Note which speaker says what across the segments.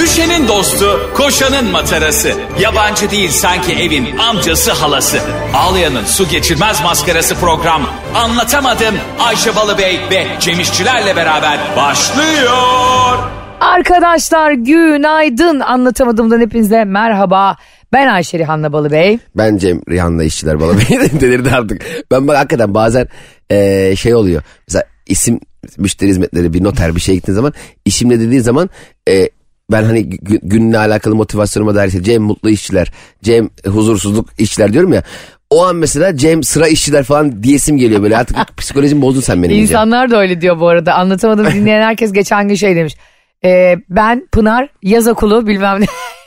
Speaker 1: Ayşe'nin dostu, koşanın matarası. Yabancı değil sanki evin amcası halası. Ağlayan'ın su geçirmez maskarası program. Anlatamadım Ayşe Balıbey ve Cemişçilerle beraber başlıyor.
Speaker 2: Arkadaşlar günaydın. Anlatamadığımdan hepinize merhaba. Ben Ayşe Rihanna Balıbey.
Speaker 3: Ben Cem Rihanna işçiler bana beni delirdi artık. Ben bak hakikaten bazen eee, şey oluyor. Mesela isim müşteri hizmetleri bir noter bir şey gittiğin zaman işimle dediğin zaman eee, ben hani gü- günle alakalı motivasyonuma dair şey Cem mutlu işçiler, Cem huzursuzluk işçiler diyorum ya. O an mesela Cem sıra işçiler falan diyesim geliyor böyle artık psikolojim bozdun sen benim. İnsan...
Speaker 2: İnsanlar da öyle diyor bu arada. Anlatamadım dinleyen herkes geçen gün şey demiş. Ee, ben Pınar yaz okulu bilmem ne.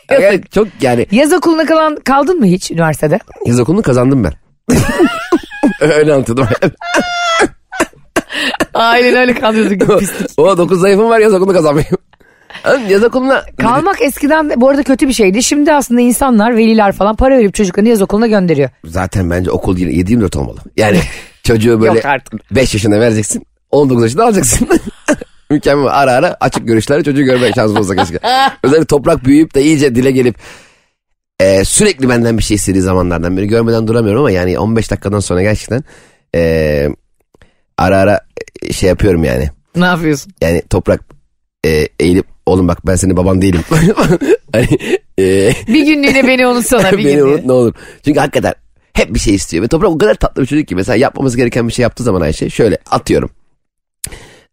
Speaker 3: Yani çok yani
Speaker 2: yaz okuluna kalan kaldın mı hiç üniversitede?
Speaker 3: yaz okulunu kazandım ben. Öyle anlatıyorum.
Speaker 2: Aynen öyle kalıyorduk pislik.
Speaker 3: o 9 zayıfım var yaz okulunu kazanmayayım. Oğlum yaz okuluna
Speaker 2: Kalmak eskiden de- bu arada kötü bir şeydi. Şimdi aslında insanlar, veliler falan para verip çocuklarını yaz okuluna gönderiyor.
Speaker 3: zaten bence okul 7-24 olmalı. Yani çocuğu
Speaker 2: Yok
Speaker 3: böyle
Speaker 2: artık.
Speaker 3: 5 yaşına vereceksin 19 yaşında alacaksın. Mükemmel ara ara açık görüşlerle çocuğu görmek şansım olsa keşke. Özellikle toprak büyüyüp de iyice dile gelip e, sürekli benden bir şey istediği zamanlardan beri görmeden duramıyorum ama yani 15 dakikadan sonra gerçekten e, ara ara e, şey yapıyorum yani.
Speaker 2: Ne yapıyorsun?
Speaker 3: Yani toprak e, eğilip oğlum bak ben senin baban değilim. hani e,
Speaker 2: Bir günlüğüne beni unutsana bir
Speaker 3: Beni
Speaker 2: günlüğüne.
Speaker 3: unut ne olur. Çünkü hakikaten hep bir şey istiyor. Ve Toprak o kadar tatlı bir çocuk ki. Mesela yapmamız gereken bir şey yaptığı zaman Ayşe şöyle atıyorum.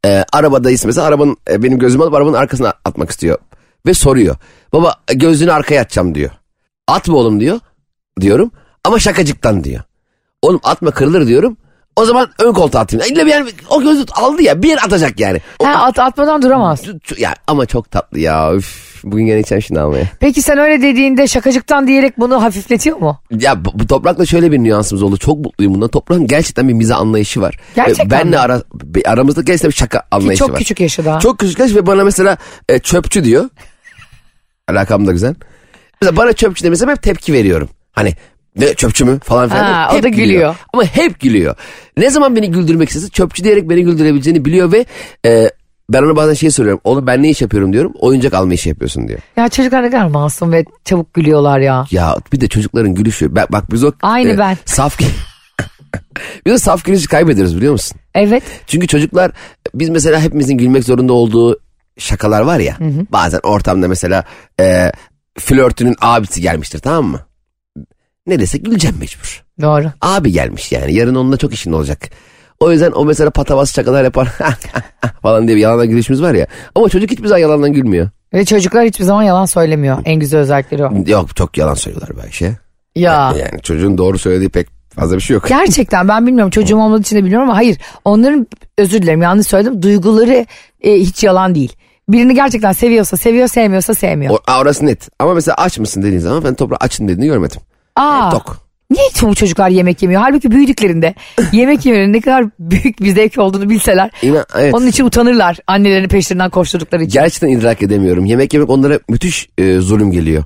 Speaker 3: Ee, arabadayız mesela arabanın e, benim gözümü alıp arabanın arkasına atmak istiyor. Ve soruyor. Baba gözünü arkaya atacağım diyor. Atma oğlum diyor. Diyorum. Ama şakacıktan diyor. Oğlum atma kırılır diyorum. O zaman ön koltuğa atayım. İlle bir yer- o gözü aldı ya bir yer atacak yani. O-
Speaker 2: Ha, at, atmadan duramaz.
Speaker 3: Ç- ç- ya ama çok tatlı ya. Üf, bugün gene içen şimdi almaya.
Speaker 2: Peki sen öyle dediğinde şakacıktan diyerek bunu hafifletiyor mu?
Speaker 3: Ya bu, bu toprakla şöyle bir nüansımız oldu. Çok mutluyum bundan. Toprağın gerçekten bir mizah anlayışı var.
Speaker 2: Gerçekten
Speaker 3: Ve benle
Speaker 2: mi?
Speaker 3: ara, bir- aramızda gerçekten bir şaka
Speaker 2: Ki
Speaker 3: anlayışı
Speaker 2: çok
Speaker 3: var.
Speaker 2: küçük yaşı daha.
Speaker 3: Çok küçük yaş ve bana mesela e, çöpçü diyor. Alakam da güzel. Mesela bana çöpçü demesem hep tepki veriyorum. Hani ne çöpçü mü falan filan.
Speaker 2: Ha,
Speaker 3: hep
Speaker 2: o da gülüyor.
Speaker 3: Ama hep gülüyor. Ne zaman beni güldürmek istese çöpçü diyerek beni güldürebileceğini biliyor ve e, ben ona bazen şey soruyorum. Oğlum ben ne iş yapıyorum diyorum. Oyuncak alma işi yapıyorsun diyor.
Speaker 2: Ya çocuklar ne kadar masum ve çabuk gülüyorlar ya.
Speaker 3: Ya bir de çocukların gülüşü. Ben, bak biz o... e,
Speaker 2: Aynı ben.
Speaker 3: Saf gü- biz o saf gülüşü kaybederiz biliyor musun?
Speaker 2: Evet.
Speaker 3: Çünkü çocuklar biz mesela hepimizin gülmek zorunda olduğu şakalar var ya. Bazen ortamda mesela e, flörtünün abisi gelmiştir tamam mı? Ne desek güleceğim mecbur.
Speaker 2: Doğru.
Speaker 3: Abi gelmiş yani yarın onunla çok işin olacak. O yüzden o mesela patavas şakalar yapar falan diye bir yalandan gülüşümüz var ya. Ama çocuk hiçbir zaman yalandan gülmüyor.
Speaker 2: Ve çocuklar hiçbir zaman yalan söylemiyor. En güzel özellikleri o.
Speaker 3: Yok çok yalan söylüyorlar Ayşe.
Speaker 2: Ya.
Speaker 3: Yani çocuğun doğru söylediği pek fazla bir şey yok.
Speaker 2: Gerçekten ben bilmiyorum çocuğum olmadığı için de bilmiyorum ama hayır onların özür dilerim yanlış söyledim duyguları e, hiç yalan değil. Birini gerçekten seviyorsa seviyor sevmiyorsa sevmiyor.
Speaker 3: O, aa, orası net. Ama mesela aç mısın dediğin zaman ben toprağı açın dediğini görmedim.
Speaker 2: Aa,
Speaker 3: Tok.
Speaker 2: niye hiç bu çocuklar yemek yemiyor? Halbuki büyüdüklerinde yemek yemenin ne kadar büyük bir zevk olduğunu bilseler
Speaker 3: İnan, evet.
Speaker 2: onun için utanırlar annelerini peşlerinden koşturdukları için.
Speaker 3: Gerçekten idrak edemiyorum. Yemek yemek onlara müthiş e, zulüm geliyor.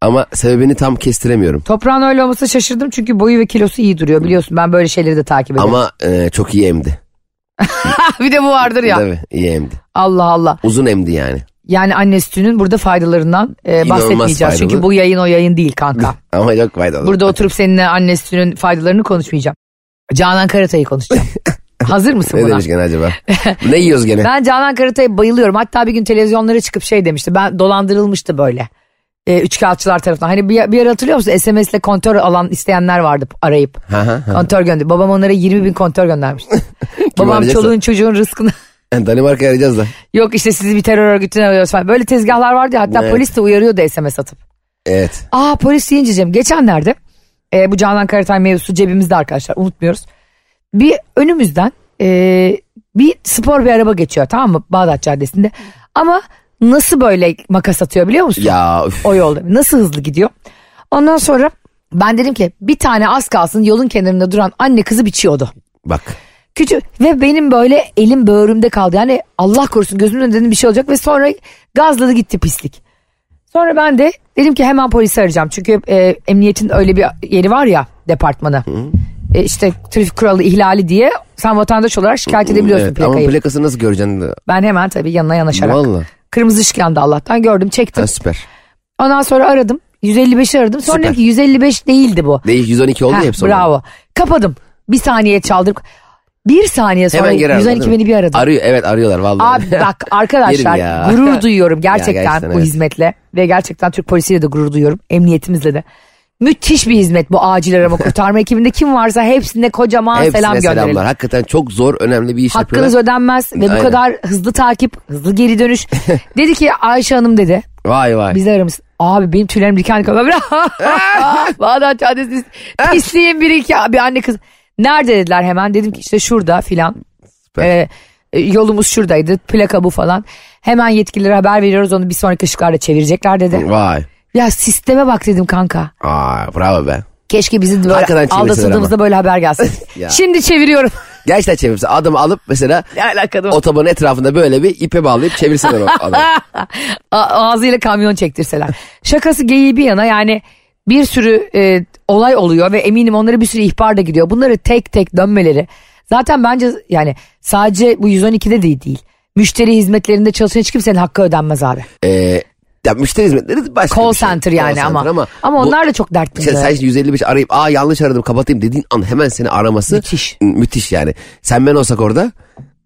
Speaker 3: Ama sebebini tam kestiremiyorum.
Speaker 2: Toprağın öyle olmasına şaşırdım çünkü boyu ve kilosu iyi duruyor biliyorsun ben böyle şeyleri de takip ediyorum.
Speaker 3: Ama e, çok iyi emdi.
Speaker 2: bir de bu vardır ya
Speaker 3: Tabii iyi emdi.
Speaker 2: Allah Allah.
Speaker 3: Uzun emdi yani.
Speaker 2: Yani anne sütünün burada faydalarından e,
Speaker 3: İnanılmaz
Speaker 2: bahsetmeyeceğiz. Çünkü
Speaker 3: faydalı.
Speaker 2: bu yayın o yayın değil kanka.
Speaker 3: Ama çok faydalı.
Speaker 2: Burada oturup seninle anne sütünün faydalarını konuşmayacağım. Canan Karatay'ı konuşacağım. Hazır mısın
Speaker 3: ne
Speaker 2: buna?
Speaker 3: demiş gene acaba? ne yiyoruz gene?
Speaker 2: Ben Canan Karatay'a bayılıyorum. Hatta bir gün televizyonlara çıkıp şey demişti. Ben dolandırılmıştı böyle. E, üçkağıtçılar tarafından. Hani bir, bir yer hatırlıyor musun? SMS'le kontör alan isteyenler vardı arayıp.
Speaker 3: Ha, ha, ha.
Speaker 2: Kontör gönder. Babam onlara 20 bin kontör göndermişti. Babam
Speaker 3: arayacaksa?
Speaker 2: çoluğun çocuğun rızkını
Speaker 3: Danimarka'ya arayacağız da.
Speaker 2: yok işte sizi bir terör örgütüne alıyoruz falan. Böyle tezgahlar vardı ya hatta
Speaker 3: Evet.
Speaker 2: polis de uyarıyordu SMS atıp.
Speaker 3: Evet.
Speaker 2: Aa polis deyince Cem geçenlerde e, bu Canan Karatay mevzusu cebimizde arkadaşlar unutmuyoruz. Bir önümüzden e, bir spor bir araba geçiyor tamam mı Bağdat Caddesi'nde ama nasıl böyle makas atıyor biliyor musun?
Speaker 3: Ya üf.
Speaker 2: O yolda nasıl hızlı gidiyor. Ondan sonra ben dedim ki bir tane az kalsın yolun kenarında duran anne kızı biçiyordu.
Speaker 3: bak.
Speaker 2: Küçük ve benim böyle elim böğrümde kaldı. Yani Allah korusun gözümün önünde dedim bir şey olacak ve sonra gazladı gitti pislik. Sonra ben de dedim ki hemen polisi arayacağım. Çünkü e, emniyetin öyle bir yeri var ya departmanı. E, işte trafik kuralı ihlali diye sen vatandaş olarak şikayet edebiliyorsun
Speaker 3: Hmm, Evet, ama
Speaker 2: plakayı.
Speaker 3: plakası nasıl göreceksin?
Speaker 2: Ben hemen tabii yanına yanaşarak.
Speaker 3: Valla.
Speaker 2: Kırmızı ışık yandı Allah'tan gördüm çektim.
Speaker 3: Ha, süper.
Speaker 2: Ondan sonra aradım. 155'i aradım. Sonra
Speaker 3: Süper.
Speaker 2: dedim ki 155 değildi bu.
Speaker 3: Değil 112 oldu
Speaker 2: Ha,
Speaker 3: ya hep sonra.
Speaker 2: bravo. Kapadım. Bir saniye çaldım. Bir saniye sonra
Speaker 3: Hemen geri aradı,
Speaker 2: 112
Speaker 3: değil mi?
Speaker 2: beni bir aradı.
Speaker 3: Arıyor evet arıyorlar vallahi.
Speaker 2: Abi bak
Speaker 3: Yerim ya.
Speaker 2: arkadaşlar gurur duyuyorum gerçekten,
Speaker 3: Ya gerçekten,
Speaker 2: bu
Speaker 3: evet.
Speaker 2: hizmetle ve gerçekten Türk polisiyle de gurur duyuyorum emniyetimizle de. Müthiş bir hizmet bu acil arama kurtarma ekibinde kim varsa hepsine kocaman
Speaker 3: Hepsine
Speaker 2: selam gönderelim.
Speaker 3: selamlar. Hakikaten çok zor önemli bir iş
Speaker 2: Hakkınız
Speaker 3: yapıyorlar.
Speaker 2: ödenmez ve
Speaker 3: Aynen.
Speaker 2: bu kadar hızlı takip, hızlı geri dönüş. dedi ki Ayşe Hanım dedi
Speaker 3: Vay vay.
Speaker 2: bizi aramışsın. Abi benim tüylerim diken diken. Ben böyle, Bağdat Caddesi pisliğin biri iki bir anne kız. Nerede dediler hemen. Dedim ki işte şurada filan.
Speaker 3: Süper.
Speaker 2: Ee, e, yolumuz şuradaydı. Plaka bu falan. Hemen yetkililere haber veriyoruz. Onu bir sonraki ışıklarda çevirecekler dedi.
Speaker 3: Vay.
Speaker 2: ya sisteme bak dedim kanka.
Speaker 3: Aa, bravo be.
Speaker 2: Keşke bizi
Speaker 3: Hakikaten
Speaker 2: böyle
Speaker 3: çevirseler
Speaker 2: aldatıldığımızda böyle haber gelsin.
Speaker 3: Ya.
Speaker 2: Şimdi çeviriyorum.
Speaker 3: Gerçekten çevirse adamı alıp mesela
Speaker 2: ne alakalı?
Speaker 3: otobanın etrafında böyle bir ipe bağlayıp çevirseler o adamı.
Speaker 2: A- ağzıyla kamyon çektirseler. Şakası geyiği bir yana yani bir sürü e, olay oluyor ve eminim onlara bir sürü ihbar da gidiyor. Bunları tek tek dönmeleri zaten bence yani sadece bu 112'de değil değil. Müşteri hizmetlerinde çalışan hiç kimsenin hakkı ödenmez abi.
Speaker 3: Ee, ya müşteri hizmetleri başka
Speaker 2: Call
Speaker 3: bir şey.
Speaker 2: center
Speaker 3: Call
Speaker 2: yani
Speaker 3: center
Speaker 2: ama. Ama,
Speaker 3: bu- Şey,
Speaker 2: onlar da çok dertli.
Speaker 3: Sen, sen şimdi 155 arayıp aa yanlış aradım kapatayım dediğin an hemen seni araması
Speaker 2: Müthiş.
Speaker 3: N- müthiş yani. Sen ben olsak orada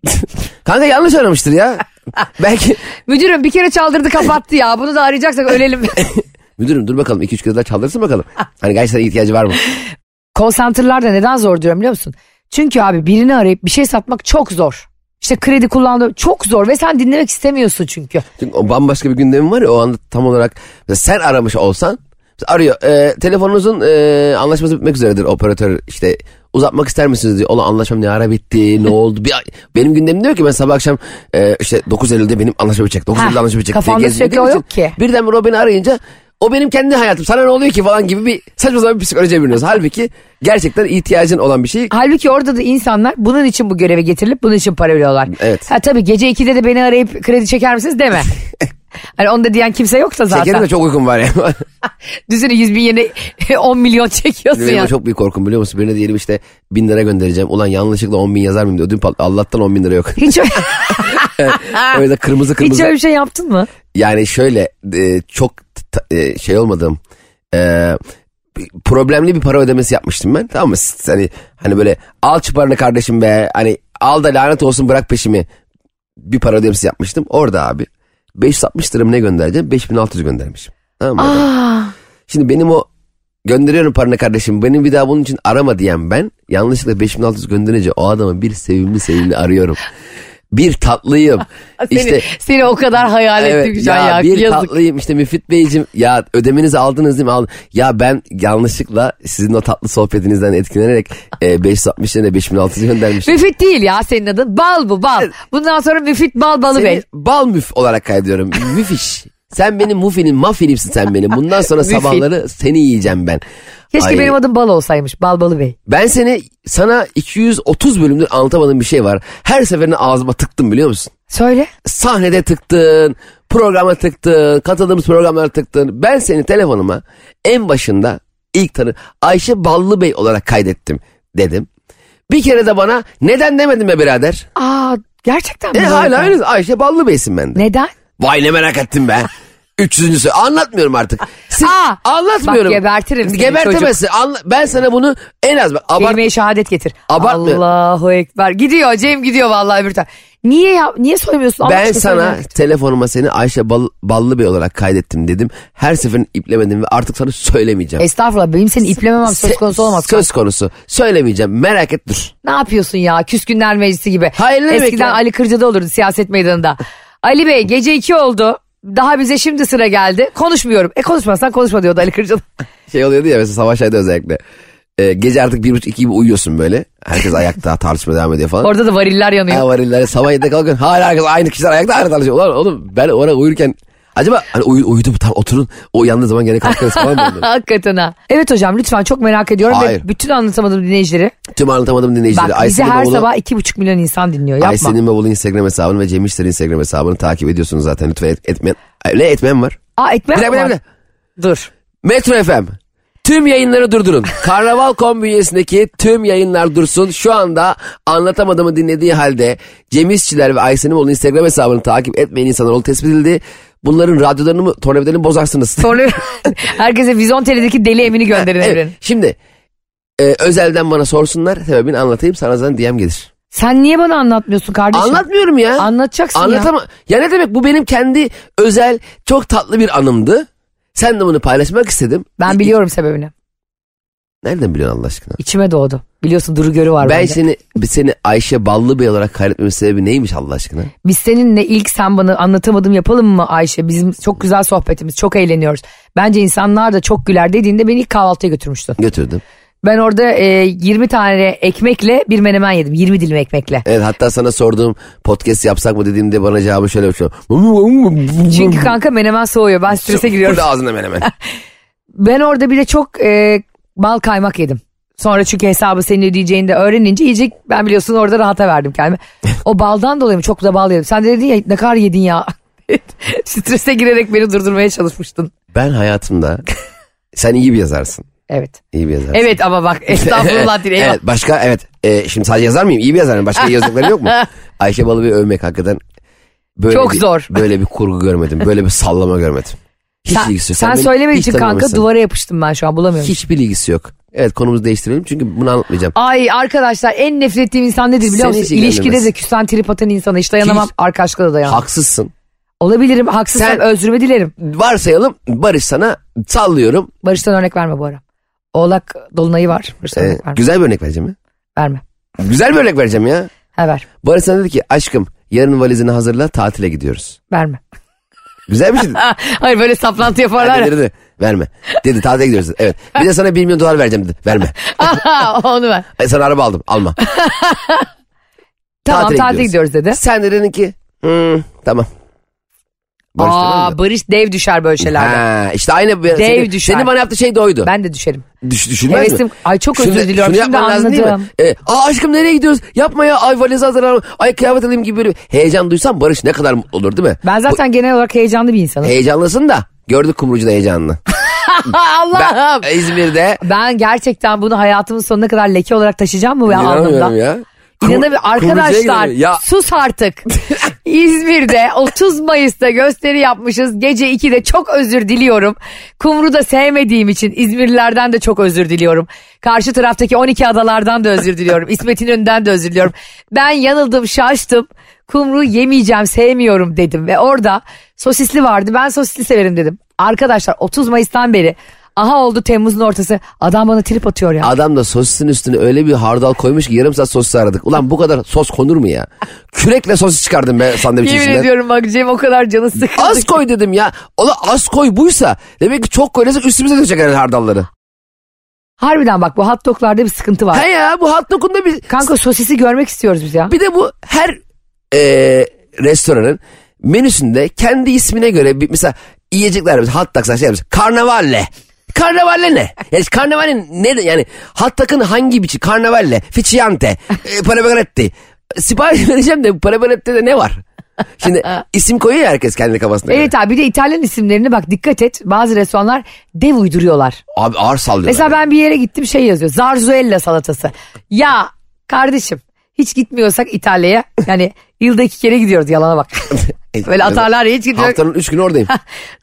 Speaker 3: kanka yanlış aramıştır ya. Belki
Speaker 2: Müdürüm bir kere çaldırdı kapattı ya. Bunu da arayacaksak ölelim.
Speaker 3: müdürüm dur bakalım 2-3 kez daha çaldırsın bakalım. Hani gerçekten ihtiyacı var mı?
Speaker 2: Call center'lar da neden zor diyorum biliyor musun? Çünkü abi birini arayıp bir şey satmak çok zor. İşte kredi kullandığı çok zor ve sen dinlemek istemiyorsun çünkü.
Speaker 3: Çünkü o bambaşka bir gündemi var ya o anda tam olarak mesela sen aramış olsan mesela arıyor e, telefonunuzun e, anlaşması bitmek üzeredir operatör işte uzatmak ister misiniz diyor. Ulan anlaşmam ne ara bitti ne oldu bir, benim gündemim diyor ki ben sabah akşam e, işte 9 Eylül'de benim anlaşma bitecek 9
Speaker 2: Ha,
Speaker 3: Eylül'de anlaşma bitecek
Speaker 2: kafanda
Speaker 3: diye gezmediğim
Speaker 2: sürekli o
Speaker 3: için
Speaker 2: yok ki.
Speaker 3: Birden o beni arayınca o benim kendi hayatım sana ne oluyor ki falan gibi bir saçma sapan bir psikolojiye bürünüyorsun. Halbuki gerçekten ihtiyacın olan bir şey
Speaker 2: Halbuki orada da insanlar bunun için bu göreve getirilip bunun için para veriyorlar.
Speaker 3: Evet.
Speaker 2: Ha tabii gece 2'de de beni arayıp kredi çeker misiniz deme. hani onu da diyen kimse yoksa
Speaker 3: Şekerim
Speaker 2: zaten.
Speaker 3: de çok uykum var ya.
Speaker 2: Düzene 100 bin yerine 10 milyon çekiyorsun
Speaker 3: Benim
Speaker 2: ya.
Speaker 3: o çok büyük korkum biliyor musun? Birine diyelim işte bin lira göndereceğim. Ulan yanlışlıkla on bin yazar mıyım diyor. Dün patladı. Allah'tan on bin lira yok.
Speaker 2: Hiç, öyle-
Speaker 3: o yüzden kırmızı
Speaker 2: hiç
Speaker 3: kırmızı.
Speaker 2: öyle bir şey yaptın mı?
Speaker 3: Yani şöyle e, çok ta- e, şey olmadığım e, problemli bir para ödemesi yapmıştım ben. Tamam mı? S- Hani, hani böyle al çıparını kardeşim be. Hani al da lanet olsun bırak peşimi. Bir para ödemesi yapmıştım. Orada abi 560 lira mı ne göndereceğim? 5600 göndermişim. Tamam mı?
Speaker 2: Aa,
Speaker 3: Şimdi benim o gönderiyorum paranı kardeşim benim bir daha bunun için arama diyen ben yanlışlıkla 5600 gönderince o adamı bir sevimli sevimli arıyorum. Bir tatlıyım.
Speaker 2: seni,
Speaker 3: işte
Speaker 2: seni o kadar hayal ettim
Speaker 3: evet,
Speaker 2: Gülcan
Speaker 3: ya,
Speaker 2: ya.
Speaker 3: bir
Speaker 2: Yazık.
Speaker 3: tatlıyım işte Müfit Beyciğim ya ödemenizi aldınız değil mi? Aldım. Ya ben yanlışlıkla sizin o tatlı sohbetinizden etkilenerek e, 560 yerine 5600 göndermişim.
Speaker 2: Müfit değil ya senin adın. Bal bu bal. Bundan sonra Müfit Bal Balı Bey.
Speaker 3: Seni bal müf olarak kaydediyorum. Müfiş. Sen benim mufinim, mafinimsin sen benim. Bundan sonra
Speaker 2: Müfit.
Speaker 3: sabahları seni yiyeceğim ben.
Speaker 2: Keşke
Speaker 3: Ay.
Speaker 2: benim adım Bal olsaymış. Bal Balı Bey.
Speaker 3: Ben seni sana 230 bölümdür anlatamadığım bir şey var. Her seferinde ağzıma tıktım biliyor musun?
Speaker 2: Söyle.
Speaker 3: Sahnede tıktın, programa tıktın, katıldığımız programlara tıktın. Ben seni telefonuma en başında ilk tanı Ayşe Ballı Bey olarak kaydettim dedim. Bir kere de bana neden demedin be birader?
Speaker 2: Aa gerçekten mi?
Speaker 3: E
Speaker 2: böyle?
Speaker 3: hala aynı Ayşe Ballı Bey'sin ben de.
Speaker 2: Neden?
Speaker 3: Vay ne merak ettim be. 300. anlatmıyorum artık. Siz-
Speaker 2: Aa,
Speaker 3: anlatmıyorum.
Speaker 2: bak gebertirim seni
Speaker 3: Gebertemezsin. Anla- ben sana bunu en az bak, abart-
Speaker 2: Kelime-i şehadet getir.
Speaker 3: Abartma.
Speaker 2: Allahu Ekber. Gidiyor Cem gidiyor vallahi bir tane. Niye ya, niye soymuyorsun? Allah
Speaker 3: Ben
Speaker 2: aşkına
Speaker 3: sana
Speaker 2: şey söyle.
Speaker 3: telefonuma seni Ayşe Bal, Ballı Bey olarak kaydettim dedim. Her seferin iplemedim ve artık sana söylemeyeceğim.
Speaker 2: Estağfurullah benim seni iplememem E, söz
Speaker 3: Se-
Speaker 2: konusu olamaz.
Speaker 3: Söz konusu. Söylemeyeceğim. Merak et dur.
Speaker 2: Ne yapıyorsun ya küskünler meclisi gibi.
Speaker 3: Hayır, ne demek
Speaker 2: Eskiden
Speaker 3: ya?
Speaker 2: Ali Kırca'da olurdu siyaset meydanında. Ali Bey gece iki oldu. Daha bize şimdi sıra geldi. Konuşmuyorum. E konuşmazsan konuşma diyordu Ali Kırca'da.
Speaker 3: Şey oluyordu ya mesela Savaş Ay'da özellikle. Ee, gece artık bir buçuk iki gibi uyuyorsun böyle. Herkes ayakta tartışma devam ediyor falan.
Speaker 2: Orada da variller yanıyor.
Speaker 3: Ha, var illa sabah yedide kalkın. Hala herkes aynı kişiler ayakta aynı tartışıyor. Ulan oğlum ben orada uyurken Acaba hani uy- uyudum tam oturun o uyandığı zaman gene kalkarız falan mı? oldu?
Speaker 2: Hakikaten ha. Evet hocam lütfen çok merak ediyorum
Speaker 3: Hayır.
Speaker 2: ve bütün anlatamadığım dinleyicileri.
Speaker 3: Tüm anlatamadım dinleyicilere.
Speaker 2: Bak bizi
Speaker 3: Aysel'in
Speaker 2: her
Speaker 3: oğlu-
Speaker 2: sabah iki buçuk milyon insan dinliyor. Yapma.
Speaker 3: Aysen'in babalı Instagram hesabını ve Cem İşler'in Instagram hesabını takip ediyorsunuz zaten. Lütfen et, etmeyen... Ne etmeyen var?
Speaker 2: Aa ekmek
Speaker 3: Bir dakika bir
Speaker 2: var.
Speaker 3: dakika.
Speaker 2: Dur.
Speaker 3: Metro FM. Tüm yayınları durdurun. Karnaval.com bünyesindeki tüm yayınlar dursun. Şu anda anlatamadığımı dinlediği halde Cem İşçiler ve Aysenimoğlu'nun Instagram hesabını takip etmeyen insanlar olduğu tespit edildi. Bunların radyolarını mı, tornavidalarını mı bozarsınız?
Speaker 2: Sonra herkese Vizon TV'deki deli Emin'i gönderin
Speaker 3: Evet,
Speaker 2: Evren.
Speaker 3: Şimdi e, özelden bana sorsunlar sebebini anlatayım sana zaten DM gelir.
Speaker 2: Sen niye bana anlatmıyorsun kardeşim?
Speaker 3: Anlatmıyorum ya.
Speaker 2: Anlatacaksın ya.
Speaker 3: Anlatama. Ya. ne demek bu benim kendi özel çok tatlı bir anımdı. Sen de bunu paylaşmak istedim.
Speaker 2: Ben
Speaker 3: İ-
Speaker 2: biliyorum sebebini.
Speaker 3: Nereden biliyorsun Allah aşkına?
Speaker 2: İçime doğdu. Biliyorsun Duru Görü var
Speaker 3: Ben şey-
Speaker 2: bende.
Speaker 3: seni seni Ayşe Ballı Bey olarak kaydetmemin sebebi neymiş Allah aşkına?
Speaker 2: Biz seninle ilk sen bana anlatamadım yapalım mı Ayşe? Bizim çok güzel sohbetimiz, çok eğleniyoruz. Bence insanlar da çok güler dediğinde beni ilk kahvaltıya götürmüştün.
Speaker 3: Götürdüm.
Speaker 2: Ben orada e, 20 tane ekmekle bir menemen yedim. 20 dilim ekmekle.
Speaker 3: Evet hatta sana sorduğum podcast yapsak mı dediğimde bana cevabı şöyle bir şey. Hmm.
Speaker 2: Çünkü kanka menemen soğuyor. Ben strese giriyorum.
Speaker 3: Burada ağzına menemen.
Speaker 2: Ben orada bir de çok e, bal kaymak yedim. Sonra çünkü hesabı senin ödeyeceğini de öğrenince iyice ben biliyorsun orada rahata verdim kendime. O baldan dolayı mı? Çok da bal yedim. Sen de dedin ya ne kadar yedin ya. Strese girerek beni durdurmaya çalışmıştın.
Speaker 3: Ben hayatımda sen iyi bir yazarsın.
Speaker 2: Evet.
Speaker 3: İyi bir yazarsın.
Speaker 2: Evet ama bak estağfurullah değil. eyvah.
Speaker 3: Evet başka evet. Ee, şimdi sadece yazar mıyım? İyi bir yazarım. Başka iyi yazdıkları yok mu? Ayşe Balıbey'i övmek hakikaten böyle
Speaker 2: Çok
Speaker 3: bir,
Speaker 2: zor.
Speaker 3: Böyle bir kurgu görmedim. Böyle bir sallama görmedim. Hiç
Speaker 2: Sen,
Speaker 3: ilgisi yok.
Speaker 2: sen
Speaker 3: beni
Speaker 2: söylemediğin
Speaker 3: hiç
Speaker 2: için kanka
Speaker 3: tanımamışsın.
Speaker 2: duvara yapıştım ben şu an bulamıyorum.
Speaker 3: Hiçbir ilgisi yok. Evet konumuzu değiştirelim çünkü bunu anlatmayacağım.
Speaker 2: Ay arkadaşlar en nefret ettiğim insan nedir biliyor
Speaker 3: Seni
Speaker 2: musun?
Speaker 3: hiç
Speaker 2: İlişkide
Speaker 3: ilgilendirmez.
Speaker 2: de küsen trip atan insana hiç dayanamam.
Speaker 3: Hiç.
Speaker 2: Arkadaşlıkla da dayanamam.
Speaker 3: Haksızsın.
Speaker 2: Olabilirim haksızsam
Speaker 3: Sen-
Speaker 2: özrümü dilerim.
Speaker 3: Varsayalım Barış sana sallıyorum.
Speaker 2: Barış'tan örnek verme bu ara. Oğlak dolunayı var. Barış'tan
Speaker 3: Ee,
Speaker 2: örnek verme.
Speaker 3: güzel bir örnek vereceğim ya.
Speaker 2: verme.
Speaker 3: Güzel bir örnek vereceğim ya.
Speaker 2: Ha ver.
Speaker 3: Barış sana dedi ki aşkım yarın valizini hazırla tatile gidiyoruz.
Speaker 2: Verme.
Speaker 3: Güzel bir şey.
Speaker 2: Ha, Hayır böyle saplantı yaparlar. ya.
Speaker 3: Dedi, dedi, verme. Dedi tatile gidiyoruz. dedi. Evet. Bir de sana 1 milyon dolar vereceğim dedi. Verme.
Speaker 2: Aha, Onu ver.
Speaker 3: Ay, sana E, araba aldım. Alma.
Speaker 2: Tamam
Speaker 3: Tatile
Speaker 2: tatile gidiyoruz,
Speaker 3: gidiyoruz.
Speaker 2: dedi.
Speaker 3: Sen de dedin ki "Hmm, tamam. Barış tamam
Speaker 2: Aa,
Speaker 3: mı?
Speaker 2: Barış dev düşer böyle şeylerde.
Speaker 3: Ha, işte aynı bir,
Speaker 2: Dev
Speaker 3: senin,
Speaker 2: düşer.
Speaker 3: senin bana yaptığı şey de oydu.
Speaker 2: Ben de düşerim.
Speaker 3: Düş, düşünmez
Speaker 2: Hevesim.
Speaker 3: mi?
Speaker 2: Ay çok
Speaker 3: Şunu-
Speaker 2: özür diliyorum.
Speaker 3: şunu
Speaker 2: Şimdi
Speaker 3: yapman lazım değil mi?
Speaker 2: anladım.
Speaker 3: E, Aa aşkım nereye gidiyoruz? Yapma ya. Ay valizi hazırlanalım. Ay kıyafet alayım gibi böyle bir heyecan duysam Barış ne kadar mutlu olur değil mi?
Speaker 2: Ben zaten genel olarak heyecanlı bir insanım.
Speaker 3: Heyecanlısın da gördük kumrucuda heyecanını.
Speaker 2: Allah'ım.
Speaker 3: Ben İzmir'de
Speaker 2: Ben gerçekten bunu hayatımın sonuna kadar leke olarak taşıyacağım mı? Ben
Speaker 3: inanamıyorum
Speaker 2: alnımda.
Speaker 3: ya. Kum-
Speaker 2: İnanamıyorum.
Speaker 3: kumrucuya
Speaker 2: Arkadaşlar
Speaker 3: gidelim. Ya
Speaker 2: sus artık. İzmir'de 30 Mayıs'ta gösteri yapmışız. Gece 2'de çok özür diliyorum. Kumru da sevmediğim için İzmirlilerden de çok özür diliyorum. Karşı taraftaki 12 adalardan da özür diliyorum. İsmet İnönü'nden de özür diliyorum. Ben yanıldım şaştım. Kumru yemeyeceğim sevmiyorum dedim. Ve orada sosisli vardı ben sosisli severim dedim. Arkadaşlar 30 Mayıs'tan beri aha oldu Temmuz'un ortası adam bana trip atıyor ya.
Speaker 3: Adam da sosisin üstüne öyle bir hardal koymuş ki yarım saat sosis aradık. Ulan bu kadar sos konur mu ya? Kürekle sosis çıkardım ben sandviç
Speaker 2: Yemin
Speaker 3: içinden.
Speaker 2: ediyorum bak Cem o kadar canı sıkıldı.
Speaker 3: Az koy dedim ya. Ola az koy buysa demek ki çok koyarsa üstümüze dökecek herhalde hardalları.
Speaker 2: Harbiden bak bu hot doglarda bir sıkıntı var.
Speaker 3: He ya bu hot dog'un da bir,
Speaker 2: Kanka sosisi görmek istiyoruz biz ya.
Speaker 3: bir de bu her e, restoranın menüsünde kendi ismine göre bir, mesela yiyecekler yapmış, hot dog'lar şey yapmış. Karnavalle. Karnavalle ne? Yani karnavalle ne? Yani hot dog'ın hangi biçi? Karnavalle, ficiante, e, parabaretti. Sipariş vereceğim de bu parabarette de ne var? Şimdi isim koyuyor ya herkes kendi kafasına göre.
Speaker 2: Evet abi bir de İtalyan isimlerini bak dikkat et. Bazı restoranlar dev uyduruyorlar.
Speaker 3: Abi ağır sallıyorlar.
Speaker 2: Mesela ben bir yere gittim şey yazıyor. Zarzuella salatası. Ya kardeşim hiç gitmiyorsak İtalya'ya yani yılda iki kere gidiyoruz yalana bak. Böyle atarlar ya, hiç gidiyor.
Speaker 3: E, Haftanın üç günü oradayım.